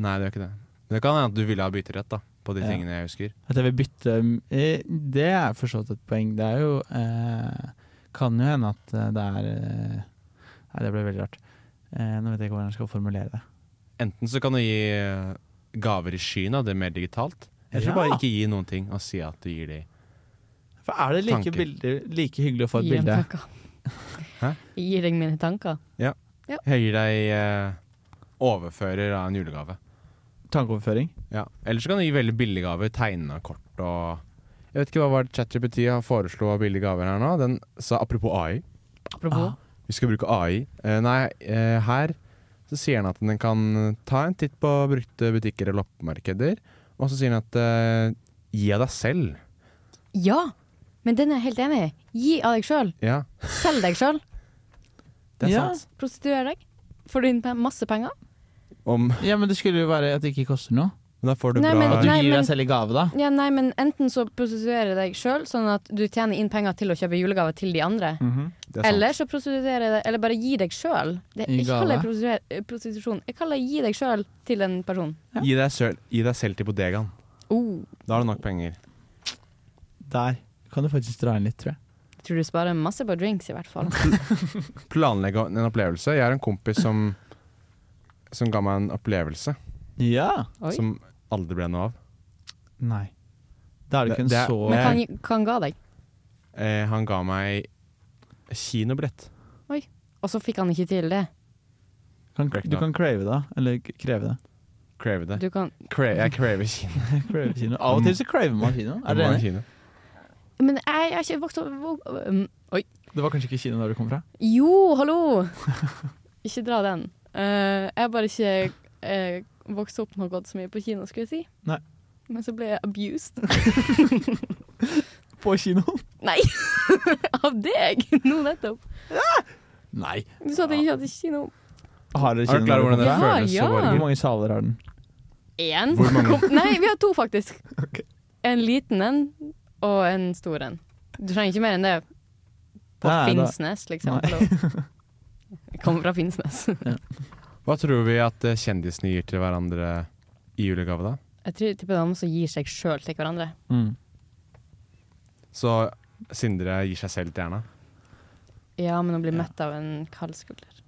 [SPEAKER 10] Nei, det gjør ikke det. Men det kan hende at du ville ha bytterett da, på de
[SPEAKER 8] Ja.
[SPEAKER 10] tingene jeg husker.
[SPEAKER 8] At jeg vil bytte eh, Det er for så vidt et poeng. Det er jo eh, Kan jo hende at eh, det er eh, Nei, det ble veldig rart. Eh, nå vet jeg ikke hvordan jeg skal formulere det.
[SPEAKER 10] Enten så kan du gi eh, gaver i skyen, da, det er mer digitalt. Eller så
[SPEAKER 8] Ja.
[SPEAKER 10] bare ikke gi noen ting og si at du gir de
[SPEAKER 8] For er det like,
[SPEAKER 10] Tanker.
[SPEAKER 8] bilder, like hyggelig å få et
[SPEAKER 9] Gi dem
[SPEAKER 8] bilde?
[SPEAKER 9] tanker. Jeg gir deg mine tanker.
[SPEAKER 10] Ja.
[SPEAKER 9] Ja.
[SPEAKER 10] Jeg gir deg eh, overfører av en julegave.
[SPEAKER 8] Tankeoverføring?
[SPEAKER 10] Ja. Eller så kan du gi veldig billige gaver. Tegne kort og Jeg vet ikke hva var det ChatGPT foreslo av billige gaver her nå. Den sa apropos AI.
[SPEAKER 8] Ah.
[SPEAKER 9] Apropos.
[SPEAKER 10] Vi skal bruke AI. Eh, nei, eh, her så sier han at den kan ta en titt på brukte butikker eller loppemarkeder, og så sier han at eh, gi av deg selv.
[SPEAKER 9] Ja, men den er jeg helt enig i. Gi av deg sjøl.
[SPEAKER 10] Ja,
[SPEAKER 9] Selg deg sjøl.
[SPEAKER 10] det er
[SPEAKER 8] Ja.
[SPEAKER 10] sant.
[SPEAKER 9] Prostituer deg. Får du inn pe- masse penger?
[SPEAKER 10] Om
[SPEAKER 8] Ja, men det skulle jo være at det ikke koster noe.
[SPEAKER 10] Da får
[SPEAKER 9] du Nei, bra- men-
[SPEAKER 8] At du
[SPEAKER 9] nei,
[SPEAKER 8] gir
[SPEAKER 9] men-
[SPEAKER 8] deg selv i gave, da.
[SPEAKER 9] Ja, nei, men Enten så prostituerer deg sjøl, sånn at du tjener inn penger til å kjøpe julegaver til de andre.
[SPEAKER 8] Det er sant.
[SPEAKER 9] Eller så prostituerer deg Eller bare gi deg sjøl.
[SPEAKER 10] I
[SPEAKER 9] Jeg kaller
[SPEAKER 10] gave.
[SPEAKER 9] det prostituer- eh, prostitusjon. Jeg kaller gi deg sjøl til en person.
[SPEAKER 10] Gi, deg selv, gi deg selv til bodegaen.
[SPEAKER 9] Oh,
[SPEAKER 10] Da har du nok penger.
[SPEAKER 8] Der kan du faktisk dra inn litt, tror jeg.
[SPEAKER 9] jeg tror du sparer masse på drinks, i hvert fall.
[SPEAKER 10] Planlegge en opplevelse. Jeg har en kompis som Som ga meg en opplevelse
[SPEAKER 8] Ja.
[SPEAKER 9] Oi.
[SPEAKER 10] som aldri ble noe av.
[SPEAKER 8] Nei. Da er det ikke en så
[SPEAKER 9] Men kan, kan ga deg.
[SPEAKER 10] eh, Han ga meg kinobillett.
[SPEAKER 9] Oi. Og så fikk han ikke til det.
[SPEAKER 8] kan, Du kan crave det, eller k- kreve det.
[SPEAKER 10] Crave det.
[SPEAKER 9] Du kan-
[SPEAKER 10] Cra- jeg craver kino.
[SPEAKER 8] crave kino. Av og til så craver man kino. Er dere enig?
[SPEAKER 9] Men jeg jeg har ikke vokst opp um, Oi.
[SPEAKER 8] Det var kanskje ikke kino der du kom fra?
[SPEAKER 9] Jo, hallo! ikke dra den. Eh, jeg har bare ikke eh, vokst opp med å ha gått så mye på kino, skulle jeg si.
[SPEAKER 8] Nei.
[SPEAKER 9] Men så ble jeg abused.
[SPEAKER 8] På kino?
[SPEAKER 9] Nei! Av deg! Nå nettopp.
[SPEAKER 8] Nei.
[SPEAKER 9] Du sa at jeg ikke hadde kino.
[SPEAKER 8] Har dere
[SPEAKER 10] Er du klar over hvordan det
[SPEAKER 8] Ja,
[SPEAKER 10] føles å
[SPEAKER 9] ja.
[SPEAKER 10] være-
[SPEAKER 8] Hvor mange saler har den?
[SPEAKER 9] Én?
[SPEAKER 10] Hvor mange?
[SPEAKER 9] Kom- Nei, vi har to, faktisk. En liten en og en stor en. Du trenger ikke mer enn det på
[SPEAKER 10] Nei, da-
[SPEAKER 9] Finnsnes, liksom.
[SPEAKER 10] Nei.
[SPEAKER 9] Hallo. Jeg kommer fra Finnsnes.
[SPEAKER 10] Hva tror vi at eh, kjendisene gir til hverandre i julegave, da?
[SPEAKER 9] Jeg tror typen de som gir seg sjøl til hverandre.
[SPEAKER 8] mm.
[SPEAKER 10] Så Sindre gir seg selv til Erna.
[SPEAKER 9] Ja, men å bli møtt av en kald skulder.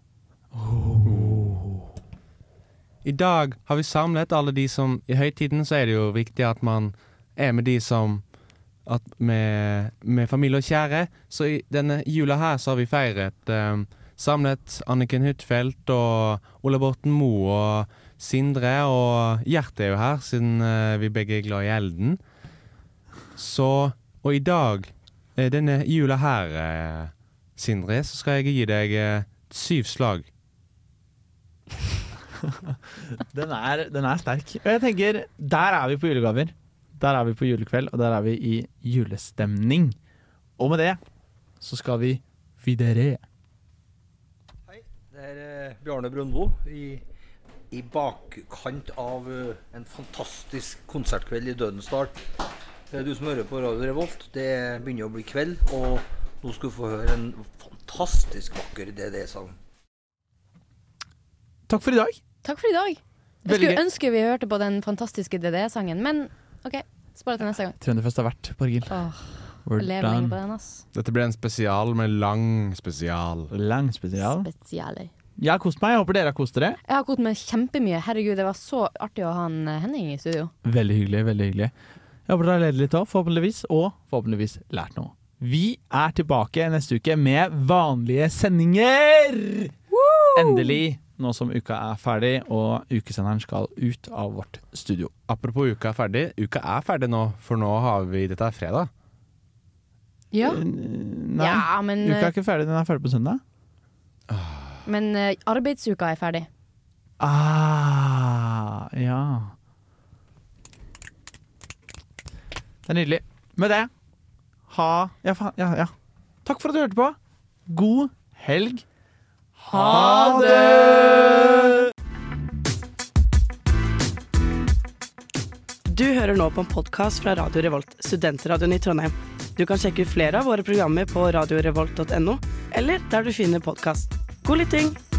[SPEAKER 10] I dag har vi samlet alle de som I høytiden så er det jo viktig at man er med de som at med, med familie og kjære. Så i denne jula her så har vi feiret eh, Samlet Anniken Huitfeldt og Ola Borten Moe og Sindre, og Gjert er jo her, siden eh, vi begge er glad i elden. Så Og i dag, eh, denne jula her, eh, Sindre, så skal jeg gi deg eh, syv slag.
[SPEAKER 8] Den er, den er sterk. Og jeg tenker, der er vi på julegaver. Der er vi på julekveld, og der er vi i julestemning. Og med det så skal vi videre.
[SPEAKER 14] Det er eh, Bjarne Brøndbo i, i bakkant av eh, en fantastisk konsertkveld i Dødensdal. Eh, Du som hører på Radio Revolt, det begynner å bli kveld, og nå skal du få høre en fantastisk vakker DD-sang.
[SPEAKER 8] Takk for i dag.
[SPEAKER 9] Takk for i dag. Jeg
[SPEAKER 8] Veldig
[SPEAKER 9] skulle
[SPEAKER 8] gøy.
[SPEAKER 9] ønske vi hørte på den fantastiske DDE-sangen, men OK. Spar det til neste gang.
[SPEAKER 8] Trønderfest har vært, Borghild.
[SPEAKER 9] Åh,
[SPEAKER 8] We're
[SPEAKER 9] jeg lever
[SPEAKER 8] done.
[SPEAKER 9] lenge på den, ass.
[SPEAKER 10] Dette ble en spesial med lang spesial.
[SPEAKER 8] Lang spesial?
[SPEAKER 9] Spesialer.
[SPEAKER 8] Jeg har kost meg, jeg håper dere har kost dere.
[SPEAKER 9] Jeg har kost meg kjempemye. Herregud, det var så artig å ha en eh, Henning i studio.
[SPEAKER 8] Veldig hyggelig, veldig hyggelig. Jeg håper dere har ledd litt òg, forhåpentligvis. Og forhåpentligvis lært noe. Vi er tilbake neste uke med vanlige sendinger! Endelig, nå som uka er ferdig, og ukesenderen skal ut av vårt studio.
[SPEAKER 10] Apropos uka er ferdig. Uka er ferdig nå, for nå har vi Dette er fredag.
[SPEAKER 9] Ja.
[SPEAKER 8] Nei,
[SPEAKER 9] Ja, men,
[SPEAKER 8] uka
[SPEAKER 9] eh,
[SPEAKER 8] er ikke ferdig. Den er ferdig på søndag.
[SPEAKER 9] Men eh, arbeidsuka er ferdig.
[SPEAKER 8] Ah, ja. Det er nydelig. Med det, ha Ja, faen. Ja, ja. Takk for at du hørte på. God helg. Ha det!
[SPEAKER 15] Du hører nå på en podkast fra Radio Revolt, studentradioen i Trondheim. Du kan sjekke ut flere av våre programmer på radiorevolt.no, eller der du finner podkast. God lytting!